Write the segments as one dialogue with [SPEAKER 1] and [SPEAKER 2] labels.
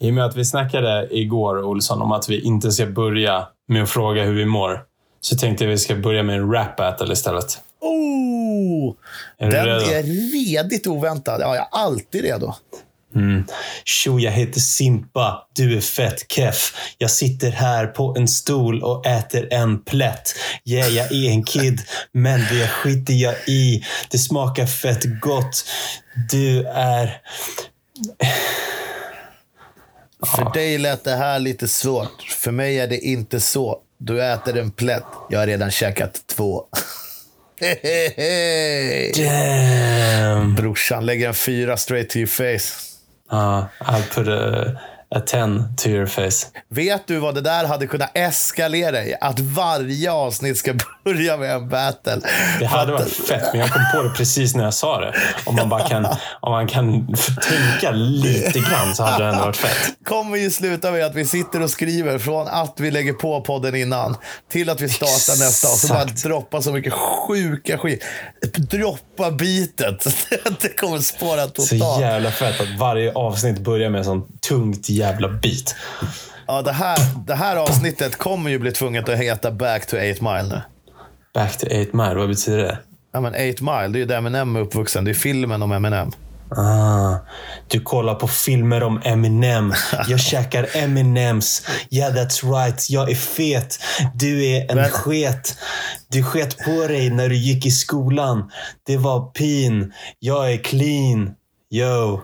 [SPEAKER 1] I och med att vi snackade igår, Olsson, om att vi inte ska börja med att fråga hur vi mår, så tänkte jag att vi ska börja med en rap battle istället.
[SPEAKER 2] Oh!
[SPEAKER 1] Är du
[SPEAKER 2] Den
[SPEAKER 1] redo?
[SPEAKER 2] är redigt oväntad. Ja, jag är alltid redo.
[SPEAKER 1] Tjo, jag heter Simpa. Du är fett keff. Jag sitter här på en stol och äter en plätt. Yeah, jag är en kid, men det skiter jag i. Det smakar fett gott. Du är...
[SPEAKER 2] För dig lät det här lite svårt. För mig är det inte så. Du äter en plätt. Jag har redan käkat två. Hehehe.
[SPEAKER 1] Damn!
[SPEAKER 2] Brorsan lägger en fyra straight to your face.
[SPEAKER 1] Ja, Ah, I put a, a ten to your face.
[SPEAKER 2] Vet du vad det där hade kunnat eskalera i? Att varje avsnitt ska börja med en battle.
[SPEAKER 1] Det hade varit fett, men jag kom på det precis när jag sa det. Om man bara kan, om man kan tänka lite grann så hade det ändå varit fett.
[SPEAKER 2] kommer ju sluta med att vi sitter och skriver från att vi lägger på podden innan till att vi startar nästa och så bara
[SPEAKER 1] Exakt.
[SPEAKER 2] droppa så mycket sjuka skit. Droppa bitet. Det kommer spåra
[SPEAKER 1] Så
[SPEAKER 2] totalt.
[SPEAKER 1] jävla fett att varje avsnitt börjar med en sån tungt jävla bit.
[SPEAKER 2] Ja, det, här, det här avsnittet kommer ju bli tvunget att heta Back to 8 Mile nu.
[SPEAKER 1] Back to 8 mile, vad betyder det?
[SPEAKER 2] Ja, men 8 Mile, det är ju där Eminem är uppvuxen. Det är filmen om Eminem.
[SPEAKER 1] Ah, du kollar på filmer om Eminem. Jag käkar Eminems. Yeah that's right, jag är fet. Du är en
[SPEAKER 2] Men-
[SPEAKER 1] sket. Du sket på dig när du gick i skolan. Det var pin. Jag är clean. Yo.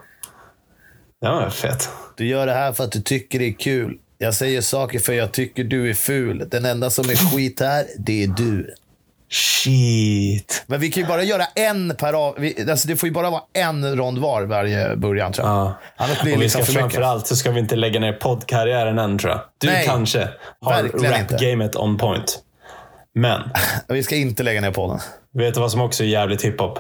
[SPEAKER 1] Det var fett.
[SPEAKER 2] Du gör det här för att du tycker det är kul. Jag säger saker för jag tycker du är ful. Den enda som är skit här, det är du.
[SPEAKER 1] Shit.
[SPEAKER 2] Men vi kan ju bara göra en per av... Vi, alltså det får ju bara vara en rond var varje början, tror jag.
[SPEAKER 1] Ja.
[SPEAKER 2] Annars blir det
[SPEAKER 1] Och vi
[SPEAKER 2] liksom
[SPEAKER 1] ska
[SPEAKER 2] för mycket.
[SPEAKER 1] framförallt så ska vi inte lägga ner poddkarriären än tror jag. Du
[SPEAKER 2] Nej,
[SPEAKER 1] kanske har
[SPEAKER 2] verkligen inte.
[SPEAKER 1] rap-gamet on point. Men,
[SPEAKER 2] Vi ska inte lägga ner podden.
[SPEAKER 1] vet du vad som också är jävligt hiphop?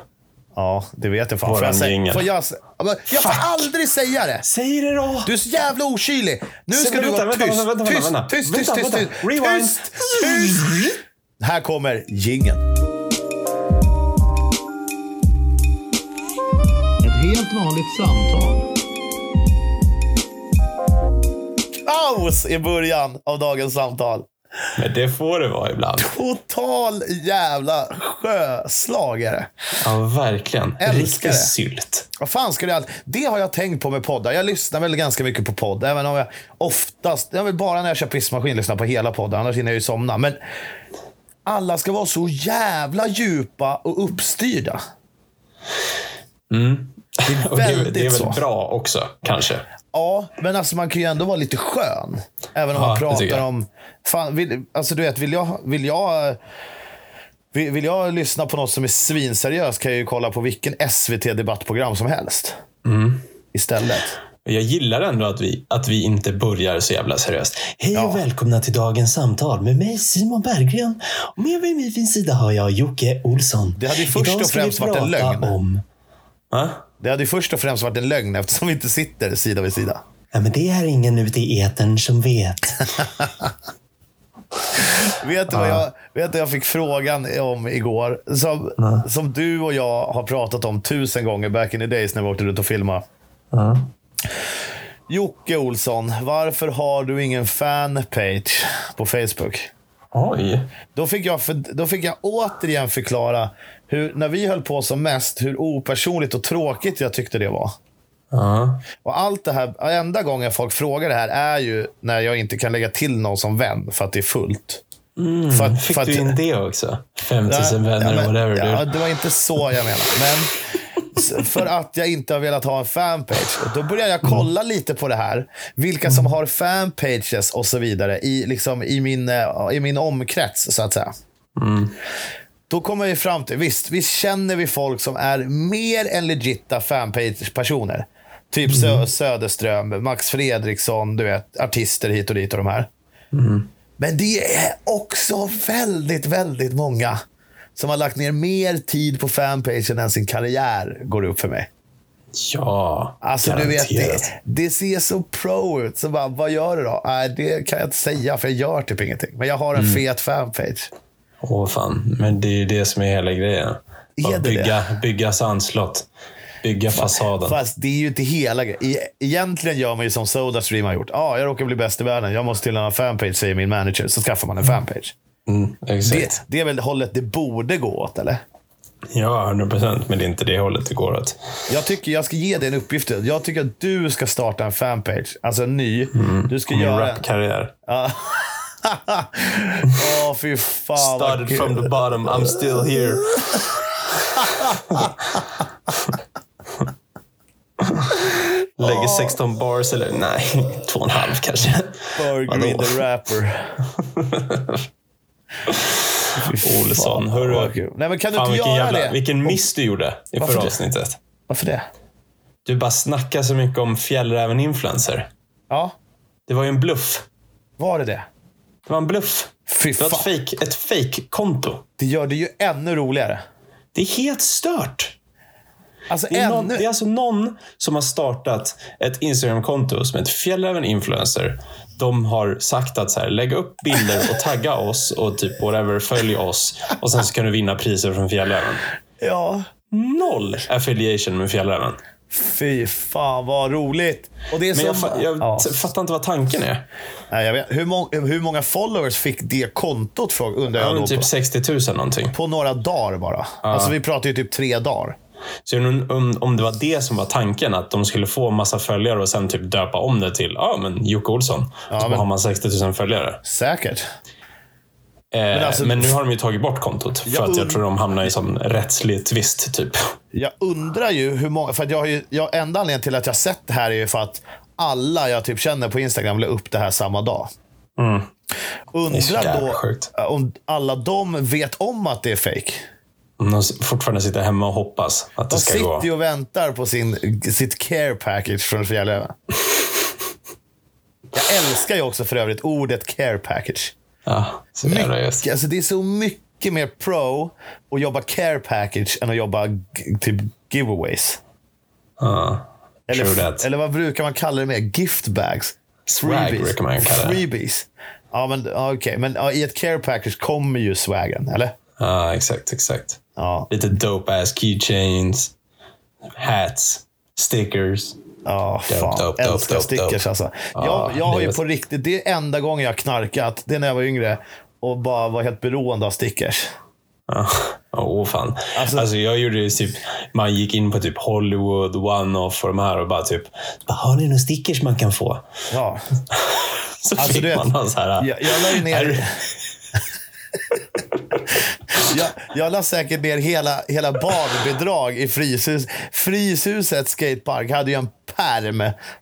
[SPEAKER 2] Ja, det vet jag fan.
[SPEAKER 1] Våran
[SPEAKER 2] får jag, säga,
[SPEAKER 1] jingel.
[SPEAKER 2] får jag, se- Ja, men jag får
[SPEAKER 1] Fuck.
[SPEAKER 2] aldrig säga det!
[SPEAKER 1] Säg det då!
[SPEAKER 2] Du är så jävla okylig! Nu
[SPEAKER 1] Så,
[SPEAKER 2] ska
[SPEAKER 1] men
[SPEAKER 2] du
[SPEAKER 1] vänta,
[SPEAKER 2] vara
[SPEAKER 1] vänta,
[SPEAKER 2] tyst.
[SPEAKER 1] vänta, vänta,
[SPEAKER 2] tyst,
[SPEAKER 1] vänta.
[SPEAKER 2] tyst,
[SPEAKER 1] Vänta,
[SPEAKER 2] tyst,
[SPEAKER 1] vänta.
[SPEAKER 2] tyst,
[SPEAKER 1] Rewind.
[SPEAKER 2] tyst, tyst. Här kommer jingeln. Ett helt vanligt samtal. Kaos i början av dagens samtal.
[SPEAKER 1] Men det får det vara ibland.
[SPEAKER 2] Total jävla sjöslagare.
[SPEAKER 1] Ja, verkligen.
[SPEAKER 2] Älskar det.
[SPEAKER 1] Riktig sylt.
[SPEAKER 2] Vad fan ska det allt? Det har jag tänkt på med poddar. Jag lyssnar väl ganska mycket på podd. Även om jag oftast, jag vill bara när jag kör pissmaskin lyssna på hela podden. Annars hinner jag ju somna. Men alla ska vara så jävla djupa och uppstyrda.
[SPEAKER 1] Och det, är- det är
[SPEAKER 2] Väldigt
[SPEAKER 1] väl
[SPEAKER 2] så.
[SPEAKER 1] bra också, kanske.
[SPEAKER 2] Ja, men alltså man kan ju ändå vara lite skön. Även om
[SPEAKER 1] Ja,
[SPEAKER 2] man
[SPEAKER 1] det tycker
[SPEAKER 2] pratar
[SPEAKER 1] jag.
[SPEAKER 2] om... Fan, vill, alltså du vet, vill jag, vill jag... Vill, vill jag lyssna på något som är svinseriöst kan jag ju kolla på vilken SVT-debattprogram som helst.
[SPEAKER 1] Mm.
[SPEAKER 2] Istället.
[SPEAKER 1] Jag gillar ändå att vi, att vi inte börjar så jävla seriöst. Hej och välkomna till dagens samtal med mig Simon Berggren. Och med mig vid min sida har jag Jocke Olsson.
[SPEAKER 2] Det hade ju först
[SPEAKER 1] Idag
[SPEAKER 2] och
[SPEAKER 1] ska vi
[SPEAKER 2] främst varit en
[SPEAKER 1] prata
[SPEAKER 2] lögn.
[SPEAKER 1] Om... Va?
[SPEAKER 2] Det hade ju först och främst varit en lögn eftersom vi inte sitter sida vid sida.
[SPEAKER 1] Ja, men det är ingen ute i etern som vet.
[SPEAKER 2] Vet du vad jag, vet du, jag fick frågan om igår? Som, som du och jag har pratat om tusen gånger back in the days när vi åkte runt och filmade. Jocke Olsson, varför har du ingen fanpage på Facebook?
[SPEAKER 1] Oj.
[SPEAKER 2] Då fick, jag för, då fick jag återigen förklara, hur, när vi höll på som mest, hur opersonligt och tråkigt jag tyckte det var.
[SPEAKER 1] Ja.
[SPEAKER 2] Och allt det här, enda gången folk frågar det här är ju när jag inte kan lägga till någon som vän för att det är fullt. för att,
[SPEAKER 1] Mm. Fick du in det också? 5000
[SPEAKER 2] Ja,
[SPEAKER 1] vänner
[SPEAKER 2] men-
[SPEAKER 1] och whatever.
[SPEAKER 2] Ja,
[SPEAKER 1] Ja,
[SPEAKER 2] det var inte så jag menade. Men s- för att jag inte har velat ha en fanpage. Då började jag kolla
[SPEAKER 1] Mm.
[SPEAKER 2] lite på det här. Vilka som har fanpages och så vidare i, liksom, i, min, eh, i min omkrets, så att säga.
[SPEAKER 1] Mm.
[SPEAKER 2] Då kommer vi fram till, visst, visst känner vi folk som är mer än legitta fanpage-personer. Typ
[SPEAKER 1] Mm.
[SPEAKER 2] Sö- Söderström, Max Fredriksson, du vet, artister hit och dit och de här. Men det är också väldigt, väldigt många som har lagt ner mer tid på fanpagen än sin karriär, går det upp för mig.
[SPEAKER 1] ja
[SPEAKER 2] Alltså, du vet, det,
[SPEAKER 1] garanterat.
[SPEAKER 2] det ser så pro ut. Så bara, vad gör du då? Nej, det kan jag inte säga, för jag gör typ ingenting. Men jag har en fet fanpage.
[SPEAKER 1] Åh fan, men det är ju det som är hela grejen.
[SPEAKER 2] Är
[SPEAKER 1] Bara
[SPEAKER 2] det
[SPEAKER 1] bygga, bygga sandslott. Bygga fasaden.
[SPEAKER 2] Fast det är ju inte hela grejen. E- Egentligen gör man ju som Sodastream har gjort. Ja, ah, jag råkar bli bäst i världen. Jag måste till en fanpage, säger min manager. Så skaffar man en fanpage.
[SPEAKER 1] Mm, exakt.
[SPEAKER 2] Det, det är väl hållet det borde gå åt, eller?
[SPEAKER 1] Ja, 100 procent. Men det är inte det hållet det går åt.
[SPEAKER 2] Jag tycker jag ska ge dig en uppgift. Jag tycker att du ska starta en fanpage. Alltså en ny.
[SPEAKER 1] Mm.
[SPEAKER 2] Du ska
[SPEAKER 1] Min
[SPEAKER 2] göra...
[SPEAKER 1] rapkarriär.
[SPEAKER 2] Åh, fy fan vad
[SPEAKER 1] Started
[SPEAKER 2] kul.
[SPEAKER 1] from the bottom, I'm still here. Lägger 16 bars eller nej, två och en halv kanske.
[SPEAKER 2] Burger
[SPEAKER 1] Vadå?
[SPEAKER 2] the rapper. Fy
[SPEAKER 1] Olsson,
[SPEAKER 2] fan,
[SPEAKER 1] hörru.
[SPEAKER 2] vad kul. Nej, men kan du
[SPEAKER 1] Fan,
[SPEAKER 2] inte
[SPEAKER 1] vilken,
[SPEAKER 2] göra
[SPEAKER 1] jävla,
[SPEAKER 2] det?
[SPEAKER 1] vilken miss du gjorde i
[SPEAKER 2] Varför
[SPEAKER 1] förra
[SPEAKER 2] det?
[SPEAKER 1] avsnittet.
[SPEAKER 2] Varför det?
[SPEAKER 1] Du bara snackar så mycket om fjällräven influencer.
[SPEAKER 2] Ja,
[SPEAKER 1] Det var ju en bluff.
[SPEAKER 2] var det det?
[SPEAKER 1] Det var en bluff.
[SPEAKER 2] Fy
[SPEAKER 1] Det var ett
[SPEAKER 2] fan,
[SPEAKER 1] fake, ett fake konto
[SPEAKER 2] det gör det ju ännu roligare.
[SPEAKER 1] Det är helt stört.
[SPEAKER 2] Alltså
[SPEAKER 1] Det är, någon,
[SPEAKER 2] ännu...
[SPEAKER 1] det är alltså någon som har startat ett Instagram-konto som heter Fjällräven Influencer. De har sagt att så här, lägg upp bilder och tagga oss och typ whatever, följ oss. Och sen så kan du vinna priser från Fjällräven.
[SPEAKER 2] Ja.
[SPEAKER 1] Noll affiliation med Fjällräven.
[SPEAKER 2] Fy fan vad roligt. Och det är
[SPEAKER 1] Men
[SPEAKER 2] så...
[SPEAKER 1] jag, fa- jag
[SPEAKER 2] ja.
[SPEAKER 1] t- fattar inte vad tanken är.
[SPEAKER 2] Nej, jag vet. Hur, må- hur många followers fick det kontot, fråga- undrar
[SPEAKER 1] Ja,
[SPEAKER 2] jag
[SPEAKER 1] men
[SPEAKER 2] då.
[SPEAKER 1] typ
[SPEAKER 2] på.
[SPEAKER 1] 60 000 någonting.
[SPEAKER 2] På några dagar bara. Alltså vi pratar ju typ tre dagar.
[SPEAKER 1] Så jag undrar om, om det var det som var tanken, att de skulle få massa följare och sen typ döpa om det till ja, men Jocke Olsson.
[SPEAKER 2] Ja,
[SPEAKER 1] så
[SPEAKER 2] men-
[SPEAKER 1] har man 60 000 följare.
[SPEAKER 2] Säkert.
[SPEAKER 1] Eh, men,
[SPEAKER 2] alltså-
[SPEAKER 1] nu har de ju tagit bort kontot för
[SPEAKER 2] Jag
[SPEAKER 1] att jag
[SPEAKER 2] und-
[SPEAKER 1] tror de hamnar i sån rättslig tvist, typ.
[SPEAKER 2] Jag undrar ju hur många... För att jag har ju, jag, enda anledningen till att jag sett det här är ju för att alla jag typ känner på Instagram la upp det här samma dag.
[SPEAKER 1] Mm. så
[SPEAKER 2] Undrar
[SPEAKER 1] jävla
[SPEAKER 2] då
[SPEAKER 1] sjukt.
[SPEAKER 2] om alla de vet om att det är fake.
[SPEAKER 1] Om de s- fortfarande sitter hemma och hoppas att det
[SPEAKER 2] De
[SPEAKER 1] ska gå.
[SPEAKER 2] sitter ju och väntar på sin, sitt care package från Fjällöven. Jag älskar ju också för övrigt ordet care package.
[SPEAKER 1] Ja, så jävla just.
[SPEAKER 2] Mycket, alltså det är så mycket mer pro att jobba care package än att jobba g- typ giveaways.
[SPEAKER 1] Ja. True that.
[SPEAKER 2] Eller, eller vad brukar man kalla det mer? Gift bags?
[SPEAKER 1] Swag brukar man kalla det.
[SPEAKER 2] Freebies. Ja, men ja, okej. Men ja, i ett care package kommer ju swaggen, eller?
[SPEAKER 1] Ja, exakt, exakt.
[SPEAKER 2] Ja.
[SPEAKER 1] Lite dope-ass keychains, hats, stickers.
[SPEAKER 2] Ja, fan.
[SPEAKER 1] dope, dope,
[SPEAKER 2] Älskar
[SPEAKER 1] dope,
[SPEAKER 2] stickers
[SPEAKER 1] dope.
[SPEAKER 2] alltså.
[SPEAKER 1] Ja,
[SPEAKER 2] jag, jag har
[SPEAKER 1] det
[SPEAKER 2] ju
[SPEAKER 1] vet-
[SPEAKER 2] på riktigt, det är enda gången jag har knarkat. Det är när jag var yngre och bara var helt beroende av stickers.
[SPEAKER 1] Ja, Åh, fan.
[SPEAKER 2] Alltså-
[SPEAKER 1] Alltså, jag gjorde ju typ, man gick in på typ Hollywood, One-Off och de här och bara typ, "Vad har ni några stickers man kan få?
[SPEAKER 2] Ja.
[SPEAKER 1] Så
[SPEAKER 2] Alltså,
[SPEAKER 1] fick
[SPEAKER 2] du vet,
[SPEAKER 1] man någon så här,
[SPEAKER 2] Jag, jag la ju ner...
[SPEAKER 1] Är-
[SPEAKER 2] jag, jag la säkert ner hela, hela barnbidrag i Fryshus. Fryshusets skatepark hade ju en perm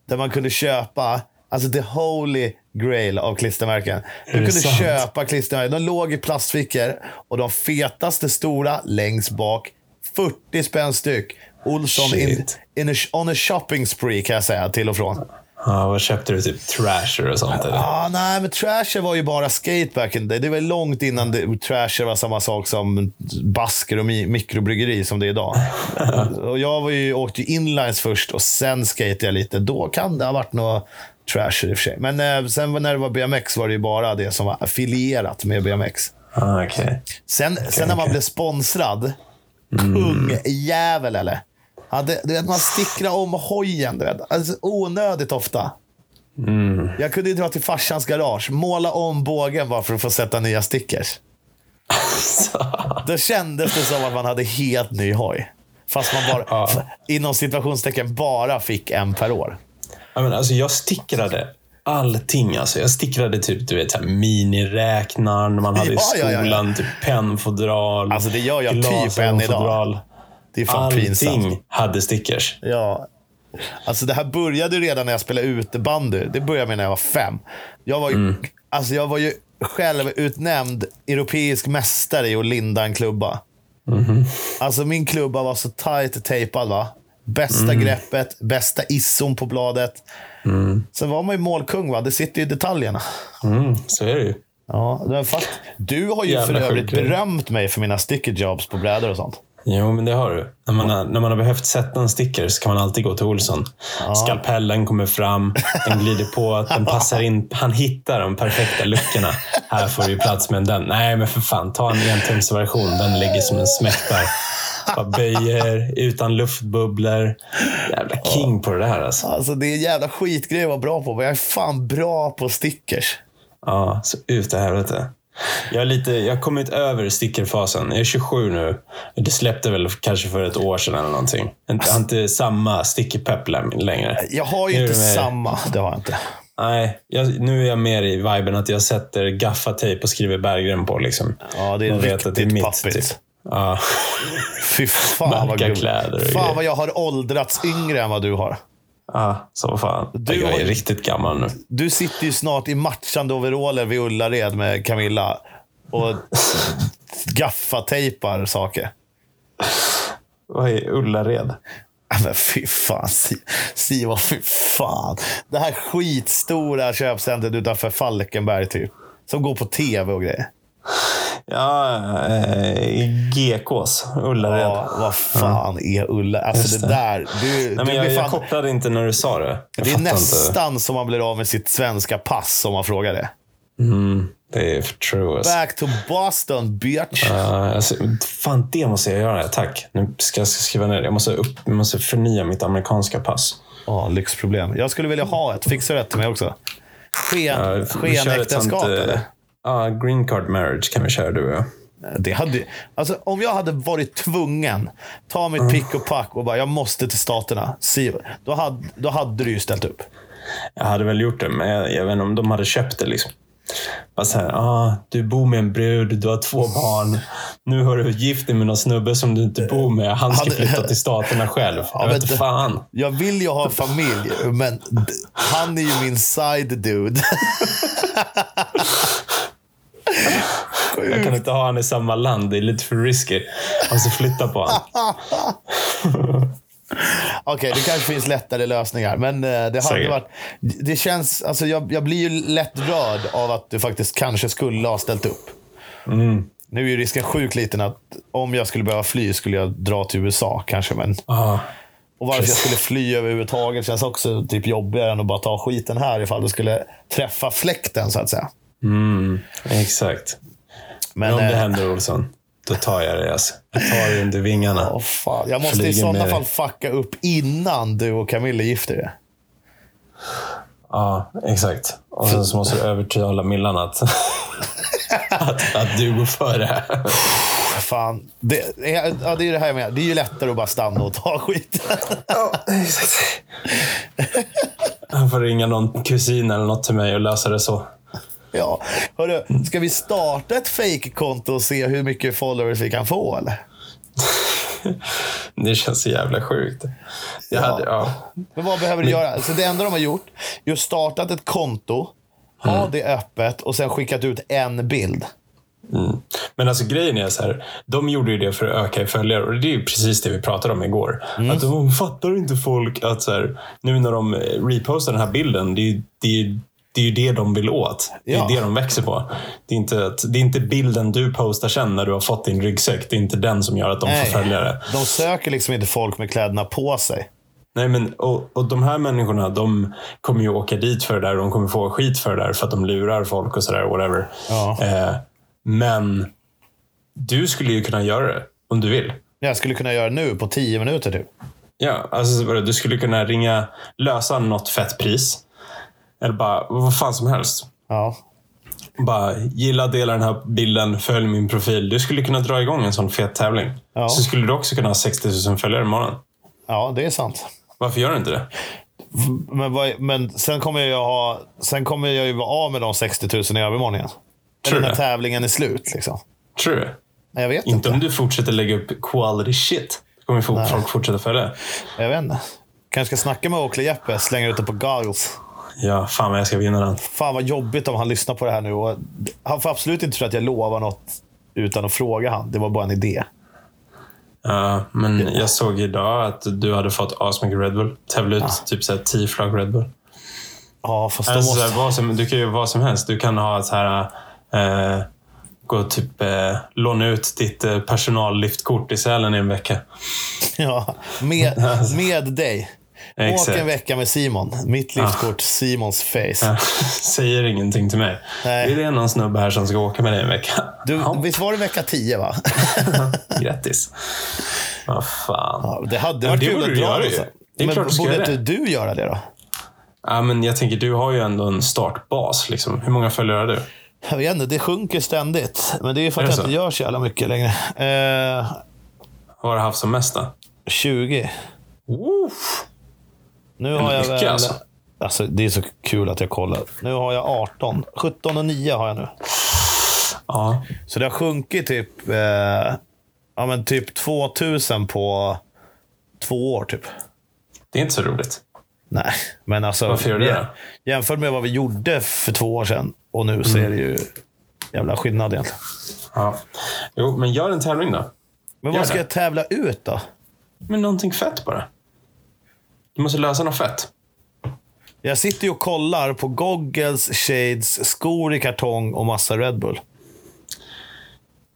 [SPEAKER 2] där man kunde köpa Alltså the holy grail av klistermärken. Du
[SPEAKER 1] det
[SPEAKER 2] kunde
[SPEAKER 1] sant?
[SPEAKER 2] köpa klistermärken. De låg i plastfickor och de fetaste stora längst bak. 40 spänn styck. Olsson in,
[SPEAKER 1] Shit.
[SPEAKER 2] in a, on a shopping spree kan jag säga till och från.
[SPEAKER 1] ja, vad köpte du? Typ Trasher och sånt eller?
[SPEAKER 2] Ah, nej, men Trasher var ju bara skate back in the day. Det var långt innan det, Trasher var samma sak som basker och mi- mikrobryggeri som det är idag. och jag var ju, åkte ju inlines först och sen skatade jag lite. Då kan det ha varit något Trasher i och för sig. Men eh, sen när det var BMX var det ju bara det som var affilierat med BMX.
[SPEAKER 1] Ah, okej.
[SPEAKER 2] Sen, sen när man blev sponsrad. Kungjävel, eller? Hade, du vet, man stickrar om hojen. Du vet. Alltså, onödigt ofta.
[SPEAKER 1] Mm.
[SPEAKER 2] Jag kunde ju dra till farsans garage, måla om bågen bara för att få sätta nya stickers. Då kändes det som att man hade helt ny hoj. Fast man bara,
[SPEAKER 1] Ja.
[SPEAKER 2] f- inom situationstecken bara fick en per år.
[SPEAKER 1] Ja, men alltså, jag stickrade allting. Alltså. Jag stickrade typ du vet, så här, miniräknaren man hade i
[SPEAKER 2] Ja, ja, ja,
[SPEAKER 1] skolan,
[SPEAKER 2] ja.
[SPEAKER 1] typ pennfodral,
[SPEAKER 2] Alltså, det gör jag typ än
[SPEAKER 1] glasögonfodral.
[SPEAKER 2] Det är fan pinsamt.
[SPEAKER 1] Allting hade stickers.
[SPEAKER 2] Ja. Alltså det här började ju redan när jag spelade utebandy. Det började med när jag var fem. Jag var ju, alltså jag var ju själv utnämnd europeisk mästare i att linda en klubba. Alltså min klubba var så tight tejpad. Va? Bästa greppet, bästa isson på bladet. Sen var man ju målkung. Va? Det sitter ju i detaljerna.
[SPEAKER 1] Mm, så är det ju.
[SPEAKER 2] Ja, men fakt, du har ju
[SPEAKER 1] Jävla
[SPEAKER 2] för övrigt
[SPEAKER 1] sjuk grej.
[SPEAKER 2] berömt mig för mina sticker jobs på brädor och sånt.
[SPEAKER 1] Jo, men det har du. När man har, när man har behövt sätta en sticker så kan man alltid gå till Olsson. Skalpellen kommer fram, den glider på, den passar in. Han hittar de perfekta luckorna. Här får du plats med den. Nej, men för fan, ta en entumsversion. Den ligger som en smäck där. Bara böjer, utan luftbubblor. Jävla king på det där alltså.
[SPEAKER 2] Alltså det är en jävla skitgrej att vara bra på, men jag är fan bra på stickers.
[SPEAKER 1] Ja, så ut i helvete. Jag, är lite, jag har kommit över stickerfasen. Jag är 27 nu. Det släppte väl kanske för ett år sedan eller någonting. Jag har inte samma stickerpepp lä- längre.
[SPEAKER 2] Jag har ju
[SPEAKER 1] Nu är
[SPEAKER 2] inte
[SPEAKER 1] det med-
[SPEAKER 2] samma. Det har jag inte.
[SPEAKER 1] Nej, jag, nu är jag mer i viben att jag sätter gaffatejp och skriver Berggren på. Liksom.
[SPEAKER 2] Ja, det är
[SPEAKER 1] Man vet att det är
[SPEAKER 2] riktigt
[SPEAKER 1] mitt,
[SPEAKER 2] pappigt.
[SPEAKER 1] typ. Ja.
[SPEAKER 2] Fy fan vad
[SPEAKER 1] Märka
[SPEAKER 2] grymt.
[SPEAKER 1] kläder och
[SPEAKER 2] Fan
[SPEAKER 1] grejer.
[SPEAKER 2] vad jag har åldrats yngre än vad du har.
[SPEAKER 1] Ja, så fan.
[SPEAKER 2] Du
[SPEAKER 1] jag
[SPEAKER 2] har-
[SPEAKER 1] är riktigt gammal nu.
[SPEAKER 2] Du sitter ju snart i matchande overaller vid Ullared med Camilla och gaffatejpar saker.
[SPEAKER 1] Vad är Ullared?
[SPEAKER 2] Ja, Men fy fan, Si- Siva, fy fan. Det här skitstora köpcentret utanför Falkenberg typ. Som går på tv och grejer.
[SPEAKER 1] Ja, eh, GKs. Ullared.
[SPEAKER 2] Ja, vad fan är Ulla? Alltså
[SPEAKER 1] Just
[SPEAKER 2] det
[SPEAKER 1] det.
[SPEAKER 2] där. Du,
[SPEAKER 1] Nej,
[SPEAKER 2] du
[SPEAKER 1] men jag,
[SPEAKER 2] blir
[SPEAKER 1] jag
[SPEAKER 2] fan,
[SPEAKER 1] kopplade inte när du sa det. Jag
[SPEAKER 2] det är
[SPEAKER 1] fattar inte.
[SPEAKER 2] nästan som man blir av med sitt svenska pass om man frågar det.
[SPEAKER 1] Det är för true. Alltså.
[SPEAKER 2] Back to Boston, bitch.
[SPEAKER 1] Ja, alltså, fan, det måste jag göra. Tack. Nu ska jag skriva ner det. Jag måste, upp, jag måste förnya mitt amerikanska pass.
[SPEAKER 2] Ja, lyxproblem. Jag skulle vilja ha ett. Fixar du ett till mig också?
[SPEAKER 1] Ja,
[SPEAKER 2] Sken,
[SPEAKER 1] vi kör ett sånt,
[SPEAKER 2] skenäktenskap,
[SPEAKER 1] eh,
[SPEAKER 2] eller?
[SPEAKER 1] Ja, green card marriage kan vi köra du och jag.
[SPEAKER 2] Det hade, alltså, om jag hade varit tvungen, ta mitt pick och pack och bara jag måste till staterna. Si- Då hade, då hade du ju ställt upp.
[SPEAKER 1] Jag hade väl gjort det, men jag, jag vet inte om de hade köpt det. liksom. Bara så här, ah, du bor med en brud, du har två barn. Nu har du gift dig med någon snubbe som du inte bor med. Han ska
[SPEAKER 2] Hade-
[SPEAKER 1] flytta till staterna själv. Jag
[SPEAKER 2] men
[SPEAKER 1] vet inte
[SPEAKER 2] det-
[SPEAKER 1] fan.
[SPEAKER 2] Jag vill ju ha en familj, men d- han är ju min side dude.
[SPEAKER 1] Jag kan inte ha han i samma land. Det är lite för risky. Alltså flytta på honom.
[SPEAKER 2] Okej, det kanske finns lättare lösningar, men eh, det hade
[SPEAKER 1] Säkert.
[SPEAKER 2] varit... Det känns, alltså, jag, jag blir ju lätt rörd av att du faktiskt kanske skulle ha ställt upp.
[SPEAKER 1] Mm.
[SPEAKER 2] Nu är ju risken sjukt liten att om jag skulle behöva fly skulle jag dra till USA kanske, men...
[SPEAKER 1] Ah.
[SPEAKER 2] Och varför jag skulle fly överhuvudtaget känns också typ jobbigare än att bara ta skiten här ifall du skulle träffa släkten, så att säga.
[SPEAKER 1] Mm, exakt.
[SPEAKER 2] Men,
[SPEAKER 1] Men om det
[SPEAKER 2] eh,
[SPEAKER 1] händer Olsson, då tar jag det. Alltså. Jag tar det under vingarna.
[SPEAKER 2] åh, fan. Jag måste i
[SPEAKER 1] Flyger
[SPEAKER 2] sådana
[SPEAKER 1] med
[SPEAKER 2] fall
[SPEAKER 1] dig.
[SPEAKER 2] fucka upp innan du och Camilla gifter er.
[SPEAKER 1] Ja, exakt. Och sen så måste du övertala Millan att, att, att du går före.
[SPEAKER 2] Fan. Det, är- ja, det är ju det här jag menar. Det är ju lättare att bara stanna och ta skiten.
[SPEAKER 1] Ja, exakt. Han får ringa någon kusin eller något till mig och lösa det så.
[SPEAKER 2] Ja. Hörru, ska vi starta ett fake-konto och se hur mycket followers vi kan få? Eller?
[SPEAKER 1] Det känns så jävla sjukt. Jag
[SPEAKER 2] Ja.
[SPEAKER 1] hade, ja.
[SPEAKER 2] Men vad behöver du göra? Så det enda de har gjort är att startat ett konto, ha det öppet och sen skickat ut en bild.
[SPEAKER 1] Mm. Men alltså grejen är så här, de gjorde ju det för att öka i följare och det är ju precis det vi pratade om igår.
[SPEAKER 2] Mm.
[SPEAKER 1] Att de fattar inte folk att så här, nu när de eh, repostar den här bilden, det är ju det, är, ju- det, är ju det de vill åt. Det är
[SPEAKER 2] Ja.
[SPEAKER 1] det de växer på. Det är, inte att, det är inte bilden du postar sen när du har fått din ryggsäck. Det är inte den som gör att de
[SPEAKER 2] Nej.
[SPEAKER 1] får följare.
[SPEAKER 2] De söker liksom inte folk med kläderna på sig.
[SPEAKER 1] Nej, men, och, och de här människorna, de kommer ju åka dit för det där. De kommer få skit för det där för att de lurar folk och sådär, whatever.
[SPEAKER 2] Ja.
[SPEAKER 1] Eh, men du skulle ju kunna göra det om du vill.
[SPEAKER 2] Jag skulle kunna göra nu på 10 minuter typ.
[SPEAKER 1] Ja, alltså, vadå, du skulle kunna ringa, lösa något fett pris. Eller bara vad fan som helst.
[SPEAKER 2] Ja.
[SPEAKER 1] Bara gilla, dela den här bilden, följ min profil. Du skulle kunna dra igång en sån fet tävling.
[SPEAKER 2] Ja.
[SPEAKER 1] Så skulle du också kunna ha 60 000 följare imorgon.
[SPEAKER 2] ja, det är sant.
[SPEAKER 1] Varför gör du inte det?
[SPEAKER 2] Men, vad, men sen, kommer jag ha, sen kommer jag ju vara av med de 60 000 i övermorgon igen.
[SPEAKER 1] Tror
[SPEAKER 2] Eller
[SPEAKER 1] du det?
[SPEAKER 2] när tävlingen är slut. Liksom.
[SPEAKER 1] Tror du?
[SPEAKER 2] Nej, Jag vet inte.
[SPEAKER 1] Inte om du fortsätter lägga upp quality shit. Då kommer folk- folk fortsätta följa.
[SPEAKER 2] Jag vet inte. Kanske ska snacka med Oakley Jeppe, slänga ut det på goggles.
[SPEAKER 1] Ja, fan vad jag ska vinna den.
[SPEAKER 2] Fan vad jobbigt om han lyssnar på det här nu. Och han får absolut inte tro att jag lovar något utan att fråga han. Det var bara en idé.
[SPEAKER 1] Ja, men jag såg idag att du hade fått asmycket Red Bull. Tävla ut typ så här 10 flak Red Bull.
[SPEAKER 2] Ja, fast då
[SPEAKER 1] Alltså, så här,
[SPEAKER 2] måste...
[SPEAKER 1] vad som, du kan ju göra vad som helst. Du kan ha ett så här... Eh, gå typ eh, låna ut ditt eh, personalliftkort i Sälen i en vecka.
[SPEAKER 2] Ja, med, med dig. Åk
[SPEAKER 1] Alltså. Exakt.
[SPEAKER 2] en vecka med Simon. Mitt livskort, Simons face.
[SPEAKER 1] Säger ingenting till mig.
[SPEAKER 2] Nej.
[SPEAKER 1] Är det någon snubbe här som ska åka med dig en vecka?
[SPEAKER 2] Du,
[SPEAKER 1] ja,
[SPEAKER 2] visst var det vecka 10 va?
[SPEAKER 1] grattis. Vad fan.
[SPEAKER 2] Ja, det hade
[SPEAKER 3] men
[SPEAKER 2] varit
[SPEAKER 3] det
[SPEAKER 2] kul
[SPEAKER 3] borde
[SPEAKER 2] att
[SPEAKER 3] du
[SPEAKER 2] dra
[SPEAKER 3] göra
[SPEAKER 2] det.
[SPEAKER 3] ju.
[SPEAKER 2] sen.
[SPEAKER 1] Det är
[SPEAKER 2] Men
[SPEAKER 1] klart du ska
[SPEAKER 2] borde
[SPEAKER 1] göra
[SPEAKER 2] inte
[SPEAKER 1] det.
[SPEAKER 2] du göra det då?
[SPEAKER 1] Ja, men jag tänker, du har ju ändå en startbas. Liksom. Hur många följare har du?
[SPEAKER 2] Jag vet inte, det sjunker ständigt. Men det är ju för att
[SPEAKER 1] Är det
[SPEAKER 2] jag inte
[SPEAKER 1] så?
[SPEAKER 2] gör så jävla mycket längre. Eh,
[SPEAKER 1] Vad har du haft som mest då?
[SPEAKER 2] 20.
[SPEAKER 1] Oof.
[SPEAKER 2] Nu har jag
[SPEAKER 1] mycket,
[SPEAKER 2] väl...
[SPEAKER 1] alltså.
[SPEAKER 2] Alltså, det är så kul att jag kollar. Nu har jag 18. 17 och 9 har jag nu.
[SPEAKER 1] Ja.
[SPEAKER 2] Så det har sjunkit typ, eh, ja, men typ 2000 på två år. typ.
[SPEAKER 1] Det är inte så roligt.
[SPEAKER 2] Nej, men alltså.
[SPEAKER 1] Varför gör du det?
[SPEAKER 2] jä- Jämfört med vad vi gjorde för två år sedan och nu så
[SPEAKER 1] Mm.
[SPEAKER 2] är det ju jävla skillnad egentligen.
[SPEAKER 1] Ja. Jo, men gör en tävling då.
[SPEAKER 2] Men
[SPEAKER 1] Gör
[SPEAKER 2] vad ska
[SPEAKER 1] det.
[SPEAKER 2] jag tävla ut då?
[SPEAKER 1] Men någonting fett bara. Du måste lösa något fett.
[SPEAKER 2] Jag sitter ju och kollar på goggles, shades, skor i kartong och massa Red Bull.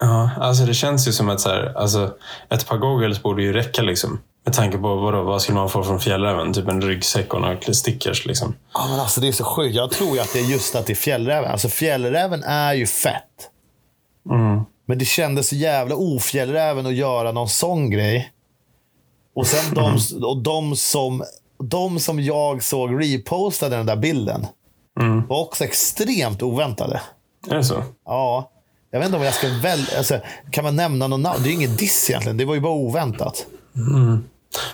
[SPEAKER 1] Ja, alltså det känns ju som att så här, alltså, ett par goggles borde ju räcka liksom. Med tanke på vadå, vad skulle man få från fjällräven? Typ en ryggsäck och några stickers liksom.
[SPEAKER 2] Ja, men alltså det är så sjukt. Jag tror ju att det är just att det är fjällräven. Alltså fjällräven är ju fett.
[SPEAKER 1] Mm.
[SPEAKER 2] Men det kändes så jävla ofjällräven att göra någon sån grej. Och sen
[SPEAKER 1] Mm.
[SPEAKER 2] de, och de, som, de som jag såg repostade den där bilden
[SPEAKER 1] Mm.
[SPEAKER 2] var också extremt oväntade.
[SPEAKER 1] Är det så?
[SPEAKER 2] Ja, jag vet inte om jag ska väl, alltså, Kan man nämna någon namn? Det är ju ingen diss egentligen. Det var ju bara oväntat.
[SPEAKER 1] Men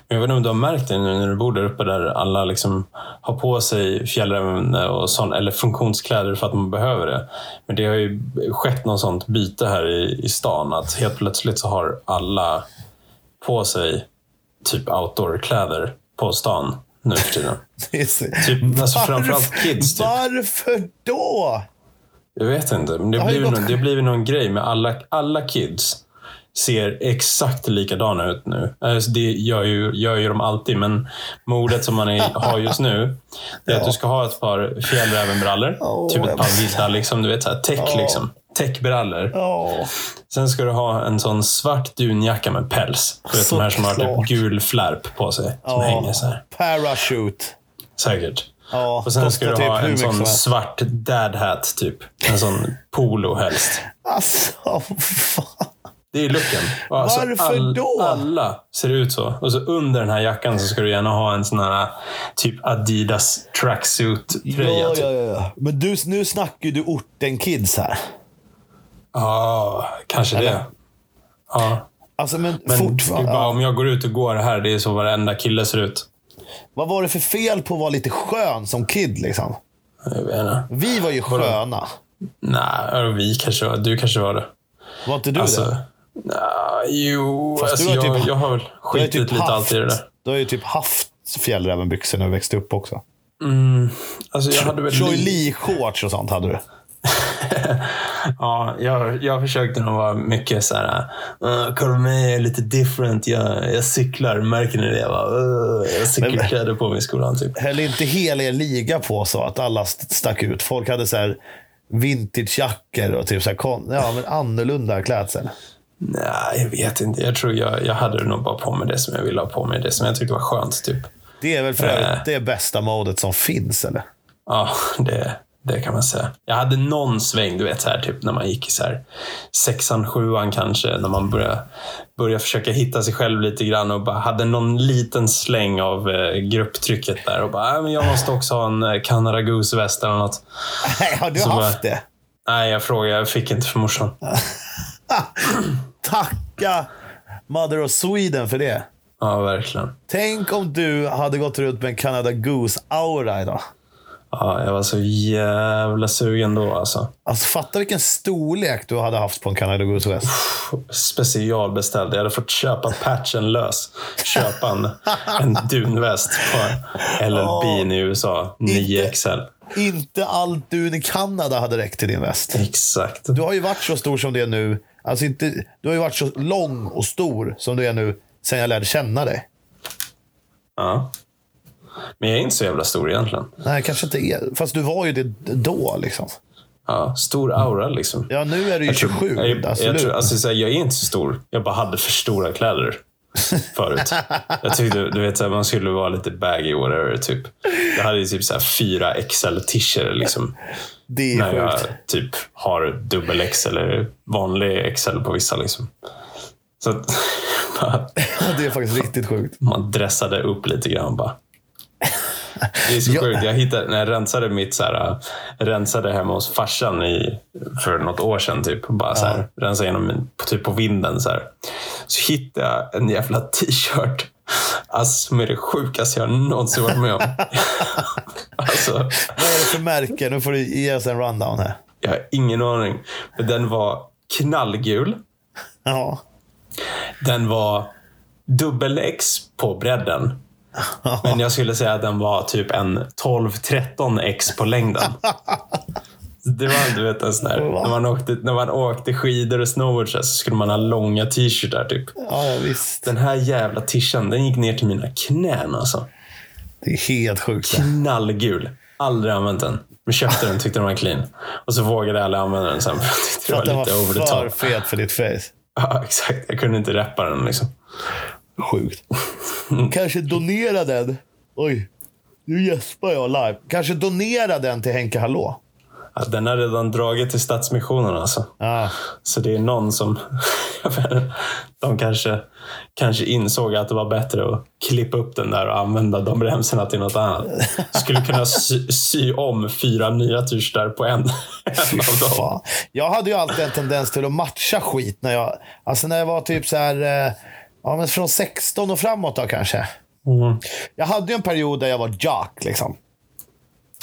[SPEAKER 1] Jag vet inte om du har märkt det nu när du bor där uppe där alla liksom har på sig fjällräven och sån, eller funktionskläder för att man behöver det. Men det har ju skett något sånt byte här i, i stan att helt plötsligt så har alla på sig typ outdoorkläder på stan nu för tiden.
[SPEAKER 2] Det är så-
[SPEAKER 1] Typ, alltså
[SPEAKER 2] Varf-
[SPEAKER 1] framförallt kids. Typ.
[SPEAKER 2] Varför då?
[SPEAKER 1] Jag vet inte, men det
[SPEAKER 2] har ju
[SPEAKER 1] blir
[SPEAKER 2] gått-
[SPEAKER 1] någon, det blir någon grej med alla, alla kids ser exakt likadana ut nu. Alltså, Det gör ju, gör ju de alltid, men modet som man är, har just nu, det är att du ska ha ett par fjällrävenbrallor.
[SPEAKER 2] Åh,
[SPEAKER 1] typ
[SPEAKER 2] jag
[SPEAKER 1] ett par vita, liksom, du vet, så här, täck liksom. Täckbrallor.
[SPEAKER 2] Ja.
[SPEAKER 1] Sen ska du ha en sån svart dunjacka med päls. Du vet, de här som har
[SPEAKER 2] Såklart.
[SPEAKER 1] typ gul flärp på sig, som
[SPEAKER 2] Ja.
[SPEAKER 1] hänger så här.
[SPEAKER 2] Parachute.
[SPEAKER 1] Säkert.
[SPEAKER 2] Ja,
[SPEAKER 1] Och sen ska
[SPEAKER 2] kostar
[SPEAKER 1] du ha en
[SPEAKER 2] typ hur mycket som
[SPEAKER 1] sån
[SPEAKER 2] helst.
[SPEAKER 1] svart dad hat, typ. En sån polo helst.
[SPEAKER 2] Alltså, fan.
[SPEAKER 1] Det är looken. Och Alltså,
[SPEAKER 2] Varför då?
[SPEAKER 1] Alla ser ut så. Och så under den här jackan så ska du gärna ha en sån här typ Adidas tracksuit-tröja.
[SPEAKER 2] Ja,
[SPEAKER 1] typ.
[SPEAKER 2] ja, ja. Men du, nu snackar ju du orten kids här.
[SPEAKER 1] Ja, kanske det. Ja,
[SPEAKER 2] Alltså, men,
[SPEAKER 1] men det är
[SPEAKER 2] fortfarande.
[SPEAKER 1] bara,
[SPEAKER 2] Ja.
[SPEAKER 1] om jag går ut och går här, det är så varenda kille ser ut.
[SPEAKER 2] Vad var det för fel på att vara lite skön som kid? Liksom?
[SPEAKER 1] Jag vet inte.
[SPEAKER 2] Vi var ju sköna.
[SPEAKER 1] Nej, och vi kanske var Du kanske var det.
[SPEAKER 2] Var inte du
[SPEAKER 1] Alltså,
[SPEAKER 2] det?
[SPEAKER 1] nej, jo,
[SPEAKER 2] Fast
[SPEAKER 1] alltså,
[SPEAKER 2] du har
[SPEAKER 1] jag,
[SPEAKER 2] typ-
[SPEAKER 1] jag har väl
[SPEAKER 2] Du har ju
[SPEAKER 1] skitit
[SPEAKER 2] typ
[SPEAKER 1] lite
[SPEAKER 2] haft,
[SPEAKER 1] alltid i det där.
[SPEAKER 2] du har ju typ haft fjällrävenbyxor när du växte upp också.
[SPEAKER 1] Alltså, jag hade väl
[SPEAKER 2] Troy
[SPEAKER 1] li-
[SPEAKER 2] Lee-shorts och sånt hade du.
[SPEAKER 1] Ja, jag, jag försökte nog vara mycket så här. "Eh, Kolla mig, jag är lite different. Jag, jag cyklar. Märker ni det? Jag, bara, "Eh, jag har cykelkläder på mig i skolan. Typ.
[SPEAKER 2] Höll inte hela er liga på så att alla st- stack ut. Folk hade så här vintagejackor och typ så här kon- ja, men annorlunda klädsel.
[SPEAKER 1] Nej, jag vet inte. Jag tror jag, jag hade nog bara på mig det som jag ville ha på mig. Det som jag tyckte var skönt. Typ.
[SPEAKER 2] Det är väl för övrigt det bästa modet som finns, eller?
[SPEAKER 1] Ja, det, det kan man säga. Jag hade någon sväng, du vet, så här, typ, när man gick i så här, sexan, sjuan kanske, när man började, började försöka hitta sig själv lite grann och bara hade någon liten släng av eh, grupptrycket där och bara, äh, men jag måste också ha en eh, Canada Goose-väst eller något.
[SPEAKER 2] Nej, har du
[SPEAKER 1] Så bara-
[SPEAKER 2] haft det?
[SPEAKER 1] Nej, jag frågade. Jag fick inte för morsan.
[SPEAKER 2] Tacka Mother of Sweden för det.
[SPEAKER 1] Ja, verkligen.
[SPEAKER 2] Tänk om du hade gått runt med en Canada Goose-aura idag.
[SPEAKER 1] Ja, jag var så jävla sugen då alltså.
[SPEAKER 2] Alltså fatta vilken storlek du hade haft på en Canada Goose-väst.
[SPEAKER 1] Specialbeställd. Jag hade fått köpa patchen lös. Köpa en, en dunväst på LL Bean i USA. 9XL.
[SPEAKER 2] Inte allt du i Kanada hade räckt till din väst.
[SPEAKER 1] Exakt.
[SPEAKER 2] Du har ju varit så stor som du är nu. Alltså inte, du har ju varit så lång och stor som du är nu sen jag lärde känna dig.
[SPEAKER 1] Ja. Men jag är inte så jävla stor egentligen.
[SPEAKER 2] Nej, kanske inte är. Fast du var ju det då liksom.
[SPEAKER 1] Ja, stor aura liksom.
[SPEAKER 2] Ja, nu är du ju 27.
[SPEAKER 1] Jag, jag, jag,
[SPEAKER 2] absolut.
[SPEAKER 1] tror, alltså, så här, jag är inte så stor. Jag bara hade för stora kläder förut. jag tyckte, du vet, så här, man skulle vara lite baggy whatever. Typ. Jag hade ju typ så här, fyra XL t-shirts liksom,
[SPEAKER 2] det är
[SPEAKER 1] när
[SPEAKER 2] sjukt.
[SPEAKER 1] jag typ har dubbel X eller vanlig XL på vissa. Liksom. Så att,
[SPEAKER 2] det är faktiskt riktigt sjukt.
[SPEAKER 1] Man dressade upp lite grann bara. Det är så
[SPEAKER 2] Ja.
[SPEAKER 1] sjukt. Jag hittade, när jag rensade mitt så här, äh, rensade hemma hos farsan i, för något år sedan. Typ. Bara så här, rensade igenom min, på- typ på vinden. Så, här. så hittade jag en jävla t-shirt. Alltså, som är det sjukaste jag någonsin varit med om. alltså,
[SPEAKER 2] Vad är det för märke? Nu får du ge oss en rundown här.
[SPEAKER 1] jag har ingen aning. Men den var knallgul.
[SPEAKER 2] Ja.
[SPEAKER 1] Den var dubbel X på bredden. Men jag skulle säga att den var typ en 12-13 X på längden. Det var du vet, en sån där, när, man åkte, när man åkte skidor och snowboard så här, så skulle man ha långa t-shirtar. Typ.
[SPEAKER 2] ja, ja, visst.
[SPEAKER 1] Den här jävla tishan, den gick ner till mina knän alltså.
[SPEAKER 2] Det är helt sjukt.
[SPEAKER 1] Knallgul. Aldrig använt den. Men köpte den, tyckte den var clean. Och så vågade jag aldrig använda den sen för jag tyckte
[SPEAKER 2] För
[SPEAKER 1] det
[SPEAKER 2] att den
[SPEAKER 1] var
[SPEAKER 2] var
[SPEAKER 1] lite over the
[SPEAKER 2] för
[SPEAKER 1] top.
[SPEAKER 2] fet för ditt face.
[SPEAKER 1] Ja, exakt. Jag kunde inte reppa den liksom.
[SPEAKER 2] Sjukt.
[SPEAKER 1] Mm.
[SPEAKER 2] Kanske donera den. Oj, nu gäspar jag live. Kanske donera den till Henke Hallå.
[SPEAKER 1] Ja, den har redan dragit till Stadsmissionen alltså.
[SPEAKER 2] Ja.
[SPEAKER 1] Så det är någon som... de kanske, kanske insåg att det var bättre att klippa upp den där och använda de remsorna till något annat. Skulle kunna sy, sy om fyra nya t-shirtar på en, en av dem.
[SPEAKER 2] Fan. Jag hade ju alltid en tendens till att matcha skit när jag, alltså när jag var typ så här, eh, ja, men från 16 och framåt då kanske.
[SPEAKER 1] Mm.
[SPEAKER 2] Jag hade ju en period där jag var jock. Liksom.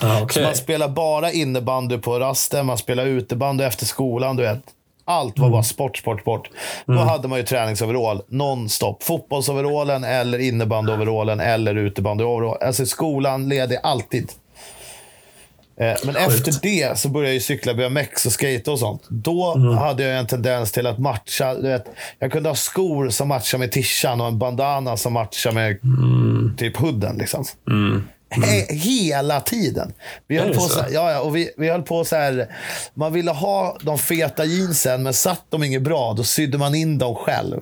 [SPEAKER 1] Ja, okej.
[SPEAKER 2] Alltså, Man spelar bara innebandy på rasten, man spelar utebandy efter skolan. Du vet. Allt var bara sport, sport, sport. Då hade man ju träningsoverall nonstop. Fotbollsoverallen eller innebandyoverallen eller utebandyoverall. Alltså skolan ledig alltid. Eh, Men efter det så började jag ju cykla BMX och skate och sånt. Då
[SPEAKER 1] Mm.
[SPEAKER 2] hade jag en tendens till att matcha. Du vet, jag kunde ha skor som matchar med tishan och en bandana som matchar med
[SPEAKER 1] Mm.
[SPEAKER 2] typ hooden. Liksom. He- Hela tiden. Vi höll
[SPEAKER 1] det
[SPEAKER 2] på
[SPEAKER 1] så?
[SPEAKER 2] så? här- ja, ja, och vi, vi höll på så här. Man ville ha de feta jeansen, men satt de inget bra, då sydde man in dem själv.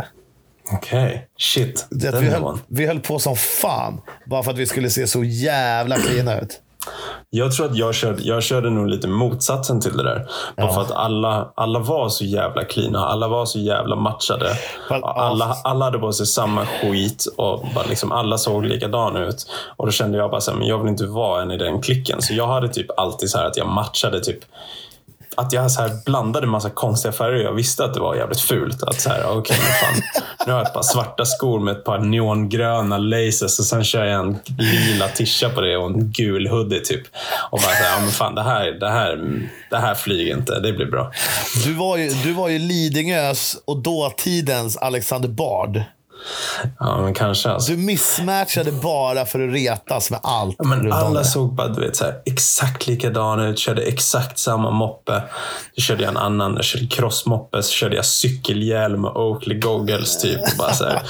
[SPEAKER 1] Okej. Shit.
[SPEAKER 2] Det att
[SPEAKER 1] Den
[SPEAKER 2] vi,
[SPEAKER 1] nivån.
[SPEAKER 2] höll, vi höll på som fan, bara för att vi skulle se så jävla fina ut.
[SPEAKER 1] Jag tror att jag körde, jag körde nog lite motsatsen till det där. Bara för att alla, alla var så jävla cleana. Alla var så jävla matchade.
[SPEAKER 2] Fast-
[SPEAKER 1] Och Alla, alla hade på sig samma skit och bara liksom alla såg likadana ut. Och Då kände jag bara så här, men jag vill inte vara en i den klicken. Så jag hade typ alltid så här att jag matchade typ att jag så här blandade massa konstiga färger. Jag visste att det var jävligt fult. Att så här, okej, men fan. Nu har jag ett par svarta skor med ett par neongröna laces och sen kör jag en lila tisha på det och en gul hoodie typ. Och bara så här, ja, men fan, det här, det, här, det här flyger inte. Det blir bra.
[SPEAKER 2] Du var ju, du var ju Lidingös och dåtidens Alexander Bard.
[SPEAKER 1] Ja, men kanske alltså.
[SPEAKER 2] Du missmatchade bara för att retas med allt.
[SPEAKER 1] Ja, Men
[SPEAKER 2] runt om
[SPEAKER 1] alla
[SPEAKER 2] dig.
[SPEAKER 1] såg bara du vet, så här, exakt likadana ut, körde exakt samma moppe. Då körde jag en annan, jag körde crossmoppe, så körde jag cykelhjälm och Oakley goggles typ. Och bara, så här,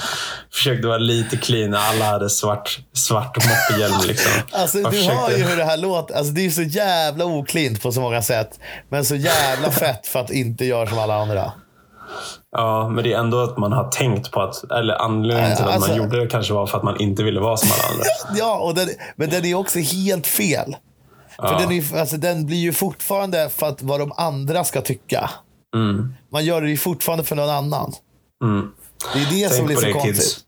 [SPEAKER 1] försökte vara lite clean, alla hade svart, svart moppehjälm. Liksom.
[SPEAKER 2] Alltså,
[SPEAKER 1] Jag
[SPEAKER 2] du hör
[SPEAKER 1] försökte-
[SPEAKER 2] ju hur det här låter. Alltså, det är ju så jävla oklint på så många sätt. Men så jävla fett för att inte göra som alla andra.
[SPEAKER 1] Ja, men det är ändå att man har tänkt på att, eller anledningen till att
[SPEAKER 2] Alltså-
[SPEAKER 1] man gjorde det kanske var för att man inte ville vara som alla andra.
[SPEAKER 2] Ja, och den, men den är ju också helt fel. För den, är, ju- alltså, den blir ju fortfarande för att vad de andra ska tycka.
[SPEAKER 1] Mm.
[SPEAKER 2] Man gör det ju fortfarande för någon annan. Det är det som
[SPEAKER 1] Tänk
[SPEAKER 2] blir
[SPEAKER 1] på
[SPEAKER 2] så
[SPEAKER 1] det
[SPEAKER 2] konstigt.
[SPEAKER 1] kids.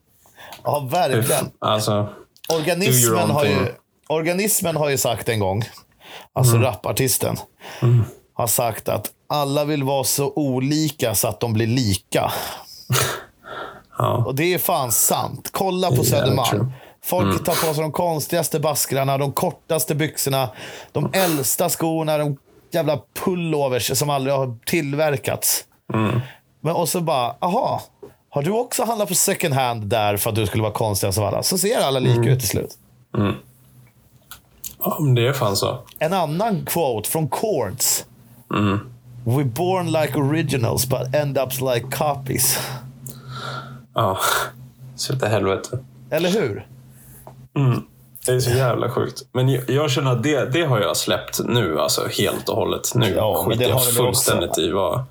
[SPEAKER 2] Ja, verkligen.
[SPEAKER 1] Alltså, Do your
[SPEAKER 2] Organismen
[SPEAKER 1] own
[SPEAKER 2] har, ju,
[SPEAKER 1] thing. Mm.
[SPEAKER 2] organismen har ju sagt en gång, alltså rapartisten, har sagt att alla vill vara så olika så att de blir lika.
[SPEAKER 1] ja.
[SPEAKER 2] Och det är fan sant. Kolla
[SPEAKER 1] Det
[SPEAKER 2] på
[SPEAKER 1] är jävligt
[SPEAKER 2] Södermalm.
[SPEAKER 1] true. Mm.
[SPEAKER 2] Folk tar på sig de konstigaste baskrarna, de kortaste byxorna, de
[SPEAKER 1] Mm.
[SPEAKER 2] äldsta skorna, de jävla pullovers som aldrig har tillverkats.
[SPEAKER 1] Mm.
[SPEAKER 2] Men och så bara, aha, har du också handlat på second hand där för att du skulle vara konstigast av alla? Så ser alla lika
[SPEAKER 1] Mm.
[SPEAKER 2] ut till slut.
[SPEAKER 1] ja, men det är fan så.
[SPEAKER 2] En annan quote från Chords.
[SPEAKER 1] Mm.
[SPEAKER 2] We're born like originals but end up like copies.
[SPEAKER 1] Ja, så utav helvete.
[SPEAKER 2] Eller hur?
[SPEAKER 1] Det är så jävla sjukt. Men jag, jag känner att det, det har jag släppt nu, alltså helt och hållet. Nu
[SPEAKER 2] Ja, men det
[SPEAKER 1] skiter
[SPEAKER 2] har
[SPEAKER 1] jag
[SPEAKER 2] väl du
[SPEAKER 1] fullständigt
[SPEAKER 2] också.
[SPEAKER 1] i vad,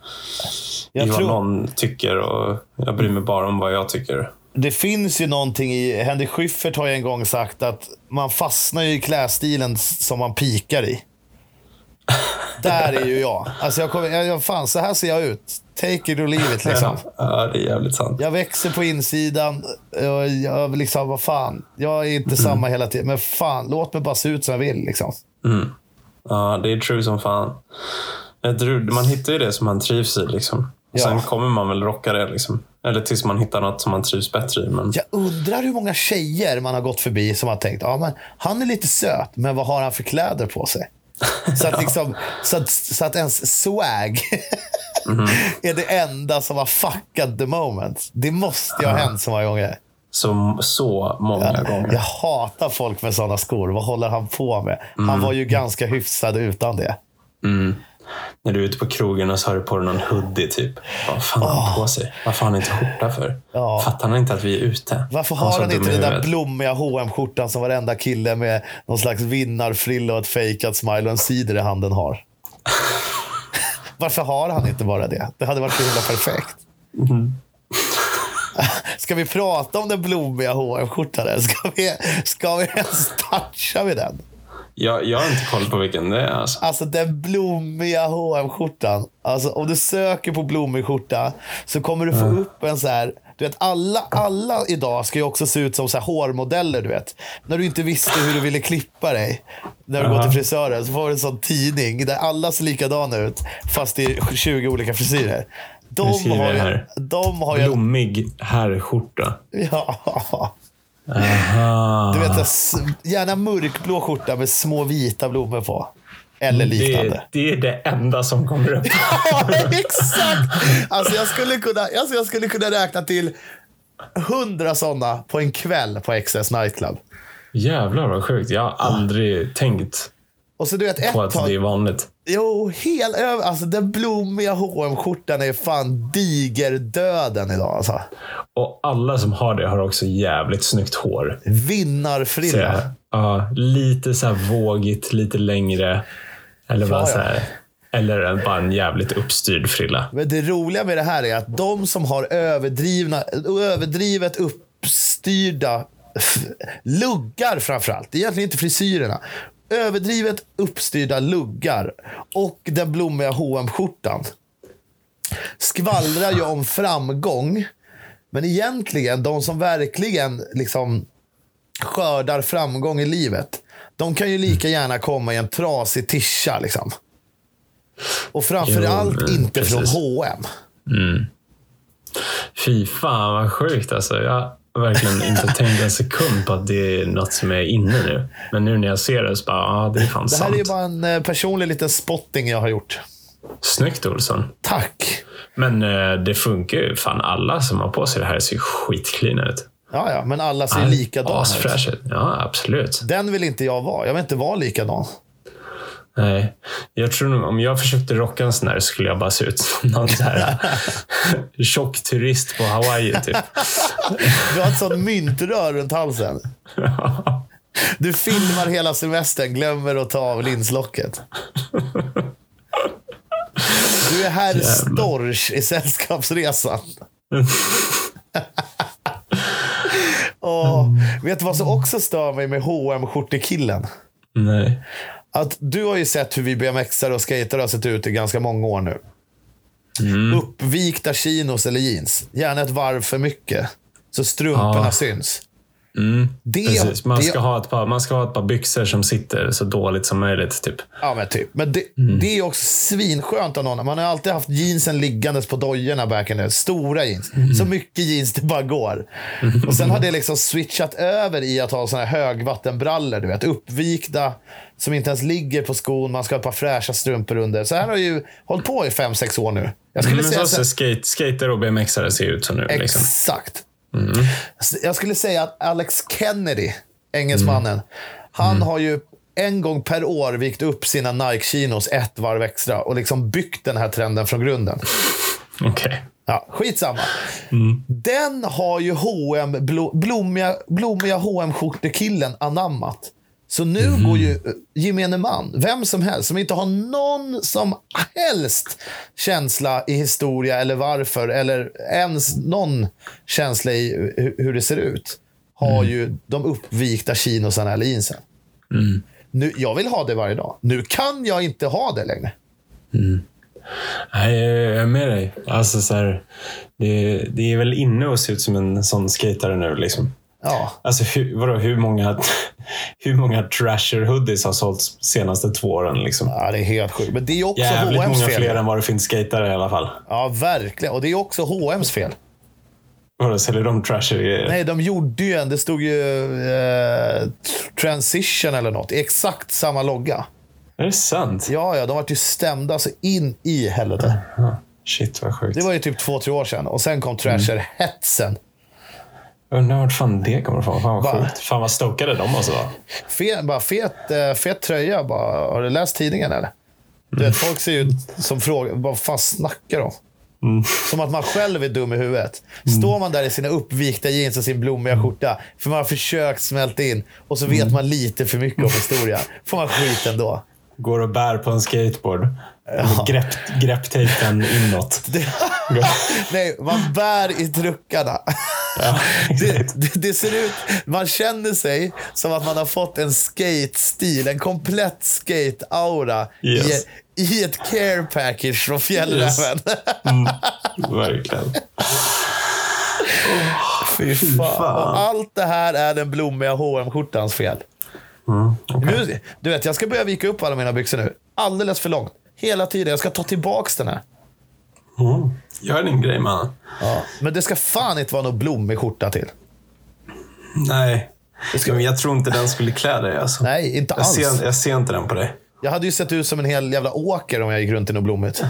[SPEAKER 2] Jag
[SPEAKER 1] i vad
[SPEAKER 2] tror-
[SPEAKER 1] någon tycker och jag bryr mig bara om vad jag tycker.
[SPEAKER 2] Det finns ju någonting i... Henrik Schyffert har ju en gång sagt att man fastnar ju i klädstilen s- som man pikar i. där är ju jag. Alltså jag kommer, jag, jag- fan, så här ser jag ut. Take it or leave it liksom.
[SPEAKER 1] Ja, det är jävligt sant.
[SPEAKER 2] Jag växer på insidan. Jag, jag liksom, vad fan. Jag är inte
[SPEAKER 1] Mm.
[SPEAKER 2] samma hela tiden. Men fan, låt mig bara se ut som jag vill liksom.
[SPEAKER 1] Ja, det är true som fan. Jag tror, man hittar ju det som man trivs i. Liksom.
[SPEAKER 2] Ja.
[SPEAKER 1] Sen kommer man väl rocka det. Liksom. Eller tills man hittar något som man trivs bättre i. Men...
[SPEAKER 2] Jag undrar hur många tjejer man har gått förbi som har tänkt, ja men han är lite söt, men vad har han för kläder på sig? Så att, liksom, så att, så att ens swag är det enda som har fuckat the moment. Det måste ju ha hänt så många gånger.
[SPEAKER 1] Så, så många gånger.
[SPEAKER 2] Jag hatar folk med sådana skor. Vad håller han på med? Han var ju ganska hyfsad utan det.
[SPEAKER 1] När du är ute på krogen och så har du på dig någon hoodie. Typ. Vad fan har han på sig? Varför har han inte skjorta för?
[SPEAKER 2] Ah. Ja.
[SPEAKER 1] Fattar han inte att vi är ute?
[SPEAKER 2] Varför
[SPEAKER 1] är
[SPEAKER 2] har
[SPEAKER 1] så
[SPEAKER 2] han
[SPEAKER 1] Alltså, dum
[SPEAKER 2] inte
[SPEAKER 1] i
[SPEAKER 2] den där
[SPEAKER 1] huvudet.
[SPEAKER 2] blommiga hm skjortan som varenda kille med någon slags vinnarfrilla och ett fejkat smile och en cider i handen har? Varför har han inte bara det? Det hade varit så himla perfekt.
[SPEAKER 1] Mm.
[SPEAKER 2] Ska vi prata om den blommiga hm skjortan eller? Ska vi, ska vi ens toucha vid den?
[SPEAKER 1] jag, jag har inte koll på vilken det är. Alltså.
[SPEAKER 2] Alltså den blommiga hm skjortan Alltså om du söker på blommig skjorta så kommer du få
[SPEAKER 1] Mm.
[SPEAKER 2] upp en så här... Du vet, alla, alla idag ska ju också se ut som så här hårmodeller, du vet. När du inte visste hur du ville klippa dig. När du går till frisören så får du en sån tidning där alla ser likadana ut fast det är 20 olika frisyrer. De
[SPEAKER 1] Nu skriver
[SPEAKER 2] har
[SPEAKER 1] jag
[SPEAKER 2] ju...
[SPEAKER 1] här.
[SPEAKER 2] De har ju...
[SPEAKER 1] Blommig herrskjorta.
[SPEAKER 2] Ja.
[SPEAKER 1] Aha.
[SPEAKER 2] Du vet, s- gärna mörkblå skjorta med små vita blommor på. Eller liknande.
[SPEAKER 1] det, det är det enda som kommer upp.
[SPEAKER 2] Ja, exakt! Alltså jag skulle kunna, alltså jag skulle kunna räkna till hundra sådana på en kväll på XS Nightclub.
[SPEAKER 1] Jävlar vad sjukt. Jag har aldrig tänkt
[SPEAKER 2] Och så du vet,
[SPEAKER 1] på
[SPEAKER 2] ett
[SPEAKER 1] att det är
[SPEAKER 2] tag...
[SPEAKER 1] vanligt.
[SPEAKER 2] Jo, hel över... Alltså den blommiga hm skjortan är fan digerdöden idag alltså.
[SPEAKER 1] Och alla som har det har också jävligt snyggt hår. Så,
[SPEAKER 2] Vinnarfrilla.
[SPEAKER 1] ja, lite så här vågigt, lite längre. Eller, bara
[SPEAKER 2] Ja, ja.
[SPEAKER 1] Så här, eller en- bara en jävligt uppstyrd frilla.
[SPEAKER 2] Men det roliga med det här är att de som har överdrivna, överdrivet uppstyrda f- luggar framförallt. Det är egentligen inte frisyrerna. Överdrivet uppstyrda luggar och den blommiga hm skjortan skvallrar ju om framgång. Men egentligen, de som verkligen liksom skördar framgång i livet, de kan ju lika
[SPEAKER 1] Mm.
[SPEAKER 2] gärna komma i en trasig tischa. Liksom. Och framförallt
[SPEAKER 1] Jo, men
[SPEAKER 2] inte från
[SPEAKER 1] precis.
[SPEAKER 2] H&M.
[SPEAKER 1] Fy fan vad sjukt alltså. Jag har verkligen inte tänkt en sekund på att det är något som är inne nu. Men nu när jag ser det så bara, ja ah, det är fan
[SPEAKER 2] Det här
[SPEAKER 1] sant.
[SPEAKER 2] är ju bara en eh, personlig liten spotting jag har gjort.
[SPEAKER 1] Snyggt Olsson.
[SPEAKER 2] Tack!
[SPEAKER 1] Men eh, det funkar ju. Fan, alla som har på sig det här ser ju skitcleana ut.
[SPEAKER 2] Ja, ja, men alla ser likadana ut.
[SPEAKER 1] Asfräsch ut. Ja, absolut.
[SPEAKER 2] Den vill inte jag vara. Jag vill inte vara likadan.
[SPEAKER 1] Nej. Jag tror nog, om jag försökte rocka en sån här så skulle jag bara se ut som någon så här tjock turist på Hawaii. Typ.
[SPEAKER 2] Du har ett sånt myntrör runt halsen. Du filmar hela semestern, glömmer att ta av linslocket. Du är herr Storch i Sällskapsresan. Åh, vet du vad som också stör mig med hm skjortekillen
[SPEAKER 1] Nej.
[SPEAKER 2] att du har ju sett hur vi BMXare och skater har sett ut i ganska många år nu.
[SPEAKER 1] Mm.
[SPEAKER 2] Uppvikta chinos eller jeans. Gärna ett varv för mycket. Så strumporna
[SPEAKER 1] Ja. Mm.
[SPEAKER 2] syns. Det,
[SPEAKER 1] Precis. Man,
[SPEAKER 2] det,
[SPEAKER 1] ska ha ett par, man ska ha ett par byxor som sitter så dåligt som möjligt. Typ.
[SPEAKER 2] Ja, men typ. Men det,
[SPEAKER 1] Mm.
[SPEAKER 2] det är ju också svinskönt av någon. Man har ju alltid haft jeansen liggandes på dojorna back in the- Stora jeans.
[SPEAKER 1] Mm.
[SPEAKER 2] Så mycket jeans det bara går. Och sen har det liksom switchat över i att ha såna här högvattenbrallor. Du vet, uppvikta, som inte ens ligger på skon. Man ska ha ett par fräscha strumpor under. Så här har ju hållit på i fem sex år nu. Jag skulle
[SPEAKER 1] Mm, Men
[SPEAKER 2] säga
[SPEAKER 1] så
[SPEAKER 2] så här-
[SPEAKER 1] ser skate, skater och BMXare ser ut som nu. Liksom.
[SPEAKER 2] Exakt. Så liksom. Jag skulle säga att Alex Kennedy, engelsmannen, han har ju en gång per år vikt upp sina Nike-chinos ett varv extra och liksom byggt den här trenden från grunden.
[SPEAKER 1] Okej.
[SPEAKER 2] Ja, skitsamma. Den har ju H&M, blo, blommiga, blommiga hm skjortekillen anammat. Så nu
[SPEAKER 1] Mhm.
[SPEAKER 2] går ju eh, gemene man, vem som helst, som inte har någon som helst känsla i historia eller varför, eller ens någon känsla i hu- hur det ser ut, har
[SPEAKER 1] Mm.
[SPEAKER 2] ju de uppvikta
[SPEAKER 1] Mm.
[SPEAKER 2] chinosarna eller jeansen. Nu, jag vill ha det varje dag. Nu kan jag inte ha det längre.
[SPEAKER 1] Nej, jag är med dig. Alltså, så här, det, det är väl inne att se ut som en sån skatare nu. Liksom.
[SPEAKER 2] Ja.
[SPEAKER 1] Alltså, hur, vadå, hur många, hur många trasher hoodies har sålts senaste två åren? Liksom?
[SPEAKER 2] ja, det är helt sjukt. Men det är ju också
[SPEAKER 1] Jävligt
[SPEAKER 2] H&M's
[SPEAKER 1] många
[SPEAKER 2] fel.
[SPEAKER 1] fler än vad det finns skatare i alla fall.
[SPEAKER 2] Ja, verkligen. Och det är också H&M's fel.
[SPEAKER 1] Vadå, säljer de trasher grejer?
[SPEAKER 2] Nej, de gjorde ju en. Det stod ju eh, Transition eller något. Exakt samma logga.
[SPEAKER 1] Är det sant?
[SPEAKER 2] Ja, ja, de vart ju stämda så in i helvete.
[SPEAKER 1] Shit, vad sjukt.
[SPEAKER 2] Det var ju typ två, tre år sedan. Och sen kom Thrasher-hetsen.
[SPEAKER 1] Undrar vart fan det kommer ifrån. Fan vad
[SPEAKER 2] Bara-
[SPEAKER 1] sjukt. Fan vad stokade de alltså? måste vara.
[SPEAKER 2] Fet, bara fet, eh, fet tröja. Bara, har du läst tidningen eller? Du vet, folk ser ju ut som frågar, vad fan snackar de? Som att man själv är dum i huvudet. Står man där i sina uppvikta jeans och sin blommiga skjorta, för man har försökt smälta in, och så vet man lite för mycket om historia. Får man skit ändå.
[SPEAKER 1] Går och bär på en skateboard. Med grepp, grepptejpen inåt. Går-
[SPEAKER 2] Nej, man bär i truckarna.
[SPEAKER 1] ja,
[SPEAKER 2] Det, det, det ser ut, man känner sig som att man har fått en skate-stil, en komplett skate-aura
[SPEAKER 1] Yes.
[SPEAKER 2] i, i ett care package från Fjällräven.
[SPEAKER 1] Mm. verkligen.
[SPEAKER 2] Fy
[SPEAKER 1] fan.
[SPEAKER 2] fan. Och allt det här är den blommiga hm skjortans fel.
[SPEAKER 1] Mm,
[SPEAKER 2] Nu, du vet, jag ska börja vika upp alla mina byxor nu. Alldeles för långt. Hela tiden. Jag ska ta tillbaks den här.
[SPEAKER 1] Mm. Gör din grej, mannen.
[SPEAKER 2] Men det ska fan inte vara någon blommig skjorta till.
[SPEAKER 1] Nej. Men jag tror inte den skulle klä dig. Alltså.
[SPEAKER 2] Nej, inte
[SPEAKER 1] jag,
[SPEAKER 2] alls.
[SPEAKER 1] ser, jag ser inte den på dig.
[SPEAKER 2] Jag hade ju sett ut som en hel jävla åker om jag gick runt i något blommigt.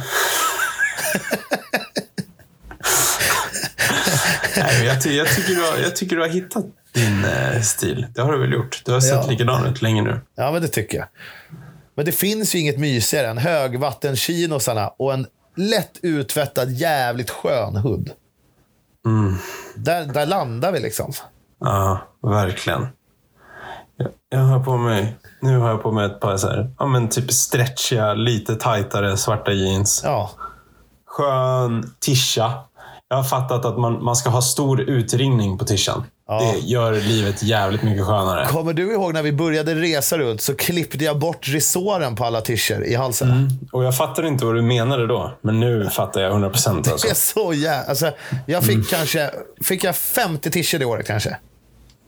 [SPEAKER 1] Nej, men jag, ty- jag, tycker du har, jag tycker du har hittat din eh, stil. Det har du väl gjort? Du har sett
[SPEAKER 2] Ja.
[SPEAKER 1] likadan ut länge nu.
[SPEAKER 2] Ja, men det tycker jag. Men det finns ju inget mysigare än högvattenchinosarna och en lätt uttvättad, jävligt skön hud. Där, där landar vi liksom.
[SPEAKER 1] Ja, verkligen. Jag, jag har på mig... Nu har jag på mig ett par så här, ja, men typ stretchiga, lite tajtare svarta jeans.
[SPEAKER 2] Ja,
[SPEAKER 1] Skön tisha. Jag har fattat att man, man ska ha stor utringning på tishan. Det gör livet jävligt mycket skönare.
[SPEAKER 2] Kommer du ihåg när vi började resa runt så klippte jag bort resåren på alla tischer i halsen?
[SPEAKER 1] Och jag fattar inte vad du menade då, men nu fattar jag 100 procent. Alltså.
[SPEAKER 2] Det är så jävla... Alltså, jag fick kanske... Fick jag 50 tischer det året kanske?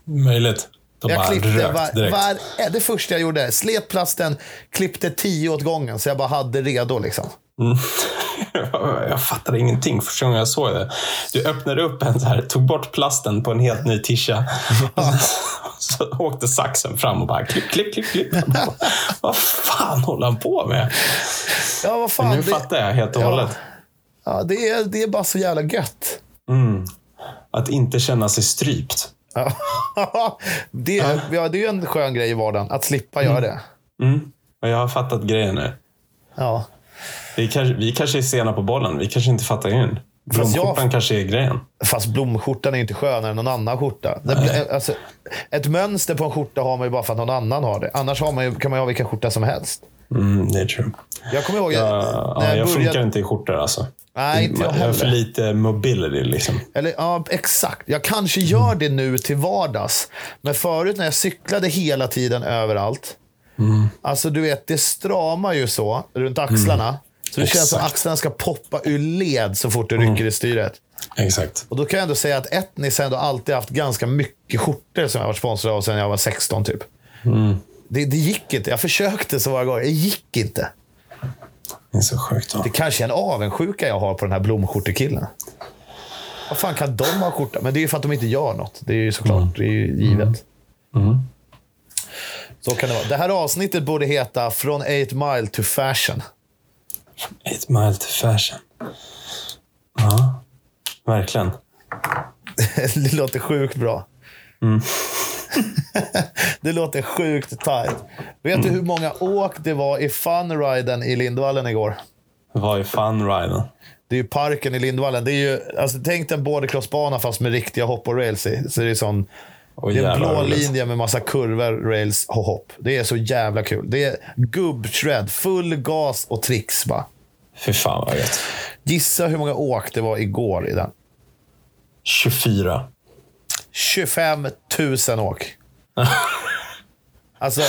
[SPEAKER 1] Möjligt. De
[SPEAKER 2] Jag
[SPEAKER 1] bara
[SPEAKER 2] klippte
[SPEAKER 1] rökt
[SPEAKER 2] var,
[SPEAKER 1] direkt.
[SPEAKER 2] var, eh, det första jag gjorde. Slet plasten, klippte 10 åt gången så jag bara hade redo liksom.
[SPEAKER 1] Mm. jag fattade ingenting första gången jag såg det. Du öppnade upp en så här, tog bort plasten på en helt ny tisha. Och så, så åkte saxen fram och bara klipp, klipp, klipp, klipp. Jag bara, Vad fan håller han på med?
[SPEAKER 2] Ja, vad fan.
[SPEAKER 1] Nu
[SPEAKER 2] det-
[SPEAKER 1] fattar jag helt och
[SPEAKER 2] Ja.
[SPEAKER 1] hållet.
[SPEAKER 2] Ja, det är, det är bara så jävla gött.
[SPEAKER 1] Att inte känna sig strypt.
[SPEAKER 2] Ja. det, är- ja, det är ju en skön grej i vardagen, att slippa göra det.
[SPEAKER 1] Mm. Och jag har fattat grejen nu.
[SPEAKER 2] Ja.
[SPEAKER 1] Vi kanske, vi kanske är sena på bollen. Vi kanske inte fattar grejen.
[SPEAKER 2] jag-
[SPEAKER 1] Blomskjortan kanske är grejen.
[SPEAKER 2] Fast blomskjortan är ju inte skönare än någon annan skjorta. Det, blir- alltså, ett mönster på en skjorta har man ju bara för att någon annan har det. Annars har man ju, kan man ju ha vilken skjorta som helst.
[SPEAKER 1] Mm, det är true.
[SPEAKER 2] Jag kommer ihåg
[SPEAKER 1] Ja, ja,
[SPEAKER 2] när jag
[SPEAKER 1] jag funkar
[SPEAKER 2] började...
[SPEAKER 1] inte i skjortor alltså.
[SPEAKER 2] Nej, inte jag
[SPEAKER 1] jag har för
[SPEAKER 2] heller.
[SPEAKER 1] lite mobility liksom.
[SPEAKER 2] Eller, ja, exakt. Jag kanske gör det nu till vardags. Men förut när jag cyklade hela tiden överallt. Alltså du vet, det stramar ju så runt axlarna. Så det känns som
[SPEAKER 1] Exakt.
[SPEAKER 2] axlarna ska poppa ur led så fort du rycker i styret.
[SPEAKER 1] Exakt.
[SPEAKER 2] Och då kan jag ändå säga att Etnis har ändå alltid haft ganska mycket skjortor som jag varit sponsrad av sedan jag var 16 typ. Det, det gick inte. Jag försökte så många gånger. Det gick inte.
[SPEAKER 1] Det är så sjukt. va?
[SPEAKER 2] Det kanske är en avundsjuka jag har på den här blomskjortekillen. Vad fan kan de ha skjorta? Men det är ju för att de inte gör något. Det är ju såklart. Det är ju givet. Så kan det vara. Det här avsnittet borde heta Från 8 mile to fashion.
[SPEAKER 1] Eight mile to fashion. Ja, verkligen.
[SPEAKER 2] det låter sjukt bra. det låter sjukt tight. Vet du hur många åk det var i funriden i Lindvallen igår?
[SPEAKER 1] Vad är funriden?
[SPEAKER 2] Det är ju parken i Lindvallen. Det är ju, alltså, tänk dig en bordercrossbana fast med riktiga hopp och rails i. Så det är sån,
[SPEAKER 1] Åh,
[SPEAKER 2] det är en
[SPEAKER 1] jävlar,
[SPEAKER 2] blå
[SPEAKER 1] vad roligt.
[SPEAKER 2] linje med massa kurvor, rails och hopp. Det är så jävla kul. Det är gubb-shred, full gas och tricks. Va?
[SPEAKER 1] Fy fan vad gött.
[SPEAKER 2] Gissa hur många åk det var igår i den.
[SPEAKER 1] 24.
[SPEAKER 2] 25 000 åk. Alltså,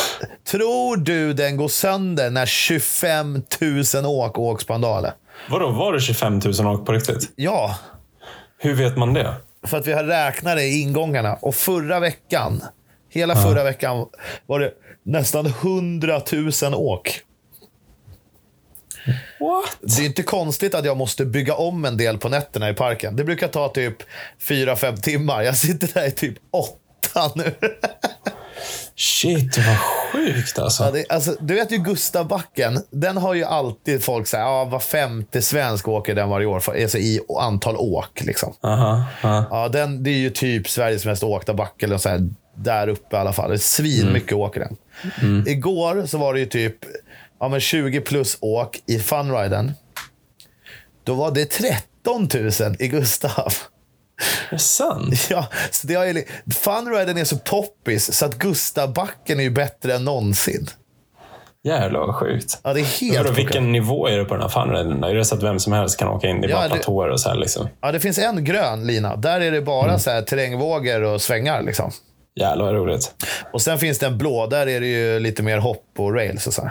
[SPEAKER 2] tror du den går sönder när 25 000 åk åks på en dag? eller?
[SPEAKER 1] Vadå, var det 25 000 åk på riktigt?
[SPEAKER 2] Ja,
[SPEAKER 1] Hur vet man det?
[SPEAKER 2] för att vi har räknat det i ingångarna. Och förra veckan, hela förra veckan, var det nästan 100 000 åk.
[SPEAKER 1] What?
[SPEAKER 2] Det är inte konstigt att jag måste bygga om en del på nätterna i parken. Det brukar ta typ 4-5 timmar. Jag sitter där i typ 8 nu.
[SPEAKER 1] Shit, vad sjukt alltså.
[SPEAKER 2] Ja, det, alltså, du vet ju Gustavbacken. Den har ju alltid folk säger ja, var femte svensk åker den varje år. För, alltså i antal åk. Liksom.
[SPEAKER 1] Aha, aha.
[SPEAKER 2] Ja, den, det är ju typ Sveriges mest åkta backe. Eller så här, där uppe i alla fall. Det är svin mycket
[SPEAKER 1] Mm.
[SPEAKER 2] åker den. Igår så var det ju typ ja, men 20 plus åk i funriden. Då var det 13 000 i Gustav.
[SPEAKER 1] Är det sant?
[SPEAKER 2] Ja, så det har ju, li- funriden är så poppis så att Gustavbacken är ju bättre än någonsin.
[SPEAKER 1] Jävlar vad sjukt.
[SPEAKER 2] Ja, det är helt
[SPEAKER 1] Vadå,
[SPEAKER 2] sjukt.
[SPEAKER 1] vilken nivå är det på den här funriden? Är det så att vem som helst kan åka in? Det är
[SPEAKER 2] Ja,
[SPEAKER 1] bara
[SPEAKER 2] det-
[SPEAKER 1] platåer och så här liksom.
[SPEAKER 2] Ja, det finns en grön lina. Där är det bara
[SPEAKER 1] Mm.
[SPEAKER 2] så här, terrängvågor och svängar. Liksom.
[SPEAKER 1] Jävlar vad roligt.
[SPEAKER 2] Och sen finns det en blå. Där är det ju lite mer hopp och rails. Och, så här.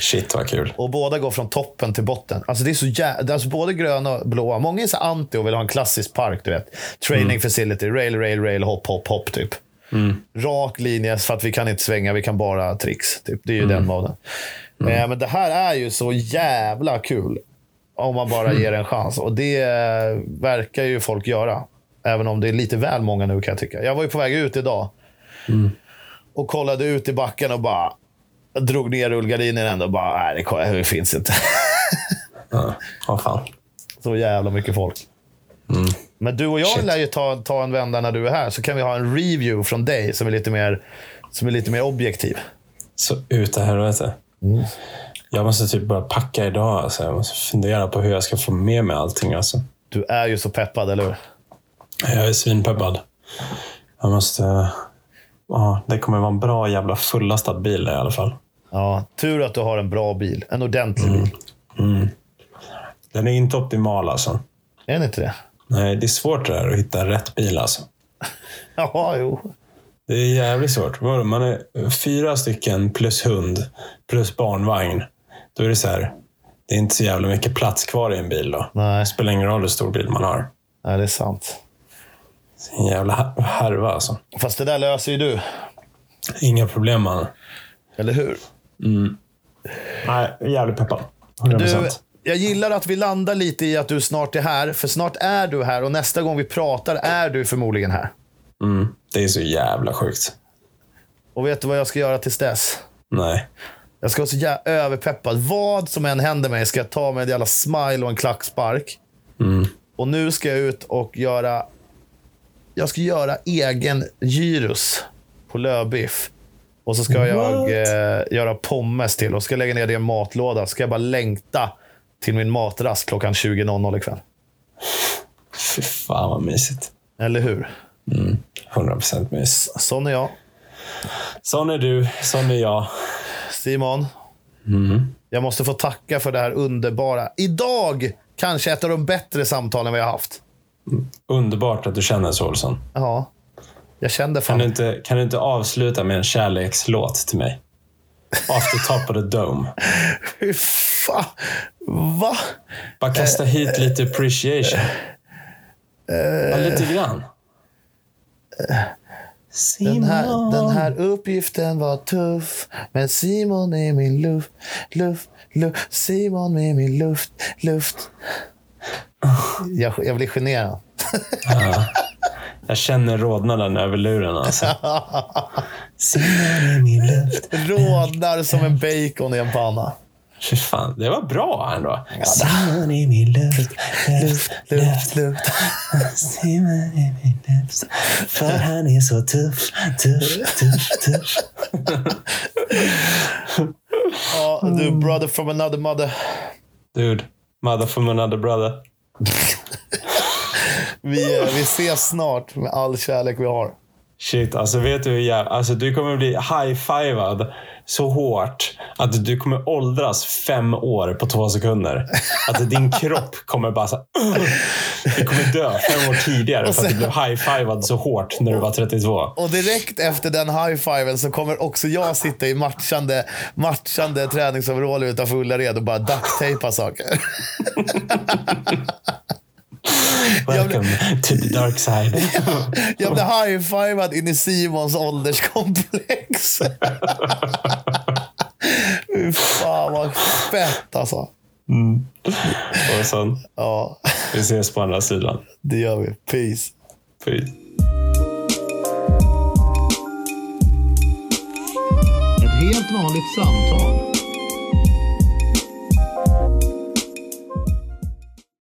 [SPEAKER 1] Shit vad kul.
[SPEAKER 2] och båda går från toppen till botten. Alltså det är så jä... alltså både gröna och blåa. Många är så anti och vill ha en klassisk park. du vet. Training facility, rail, rail, rail, hopp, hopp, hopp. typ. Rak linje för att vi kan inte svänga, vi kan bara tricks. Typ. Det är ju den moden. Eh, men det här är ju så jävla kul. Om man bara ger det en chans. Och det eh, verkar ju folk göra. Även om det är lite väl många nu kan jag tycka. Jag var ju på väg ut idag. Och kollade ut i backen och bara drog ner rullgardinen ändå. och Bara, nej, det kolla- det finns inte.
[SPEAKER 1] Ja, vad fan.
[SPEAKER 2] Så jävla mycket folk. Mm. Men du och jag lär ju ta, ta en vända när du är här, så kan vi ha en review från dig som är lite mer, som är lite mer objektiv.
[SPEAKER 1] Så ut i helvete. Jag måste typ börja packa idag. Alltså. Jag måste fundera på hur jag ska få med mig allting. Alltså.
[SPEAKER 2] Du är ju så peppad, eller hur?
[SPEAKER 1] Jag är svinpeppad. Jag måste... Ja, det kommer vara en bra jävla fullastad bil i alla fall.
[SPEAKER 2] Ja, tur att du har en bra bil. En ordentlig bil.
[SPEAKER 1] Den är inte optimal alltså.
[SPEAKER 2] Är det inte det?
[SPEAKER 1] Nej, det är svårt det där att hitta rätt bil alltså.
[SPEAKER 2] Ja, jo.
[SPEAKER 1] Det är jävligt svårt. Vadå, Man är fyra stycken plus hund plus barnvagn. Då är det så här. Det är inte så jävla mycket plats kvar i en bil då.
[SPEAKER 2] Nej.
[SPEAKER 1] Det spelar ingen roll hur stor bil man har.
[SPEAKER 2] Nej, det är sant.
[SPEAKER 1] Det är en jävla här- härva alltså.
[SPEAKER 2] Fast det där löser ju du.
[SPEAKER 1] Inga problem man.
[SPEAKER 2] Eller hur?
[SPEAKER 1] Nej, jag är jävligt peppad. 100%.
[SPEAKER 2] Du, jag gillar att vi landar lite i att du snart är här, för snart är du här och nästa gång vi pratar är du förmodligen här.
[SPEAKER 1] Mm, det är så jävla sjukt.
[SPEAKER 2] Och vet du vad jag ska göra tills dess?
[SPEAKER 1] Nej.
[SPEAKER 2] Jag ska vara så jävla överpeppad. Vad som än händer mig ska jag ta med en jävla smile och en klackspark. Och nu ska jag ut och göra... Jag ska göra egen gyros på lövbiff. Och så ska jag
[SPEAKER 1] What?
[SPEAKER 2] eh, göra pommes till och ska lägga ner det i en matlåda. Ska jag bara längta till min matrast klockan 20.00 ikväll.
[SPEAKER 1] Fy fan vad mysigt.
[SPEAKER 2] Eller hur?
[SPEAKER 1] 100% mys.
[SPEAKER 2] Sån är jag.
[SPEAKER 1] Sån är du, sån är jag.
[SPEAKER 2] Simon. Jag måste få tacka för det här underbara. Idag kanske ett av de bättre samtalen vi har haft.
[SPEAKER 1] Underbart att du känner så, Olsson.
[SPEAKER 2] Ja. Jag kände fan...
[SPEAKER 1] Kan du, inte, kan du inte avsluta med en kärlekslåt till mig? After top of the dome.
[SPEAKER 2] Hur fan... Va?
[SPEAKER 1] Bara kasta hit lite appreciation. Bara lite grann. Simon.
[SPEAKER 2] Den här, den här uppgiften var tuff. Men Simon är min luft, luft, luft. Simon är min luft, luft. Jag, jag blir generad.
[SPEAKER 1] Jag känner rodnaden över luren alltså. Simon är min luft.
[SPEAKER 2] Rodnar som en bacon i en panna.
[SPEAKER 1] Fy fan, det var bra ändå. Simon är min luft. Luft,
[SPEAKER 2] Luft, luft.
[SPEAKER 1] Simon är min luft. För han är så tuff, tuff, tuff, tuff.
[SPEAKER 2] Ja, du, brother from another mother.
[SPEAKER 1] Dude, mother from another brother.
[SPEAKER 2] Vi, eh, vi ses snart med all kärlek vi har.
[SPEAKER 1] Shit, alltså vet du hur jävla... Alltså du kommer bli high-fivad så hårt att du kommer åldras fem år på två sekunder. Att din kropp kommer bara så här, Du kommer dö fem år tidigare för att du blev high-fivad så hårt när du var 32.
[SPEAKER 2] Och direkt efter den high-fiven så kommer också jag sitta i matchande, matchande träningsoverall utanför Ullared och bara ducktejpa saker.
[SPEAKER 1] Welcome to the dark side.
[SPEAKER 2] Jag blev high-fivad in i Simons ålderskomplex. Fy Fan vad fett alltså.
[SPEAKER 1] Och så,
[SPEAKER 2] Ja,
[SPEAKER 1] vi ses på andra sidan.
[SPEAKER 2] det gör vi. Peace.
[SPEAKER 1] Fy.
[SPEAKER 3] Ett helt vanligt samtal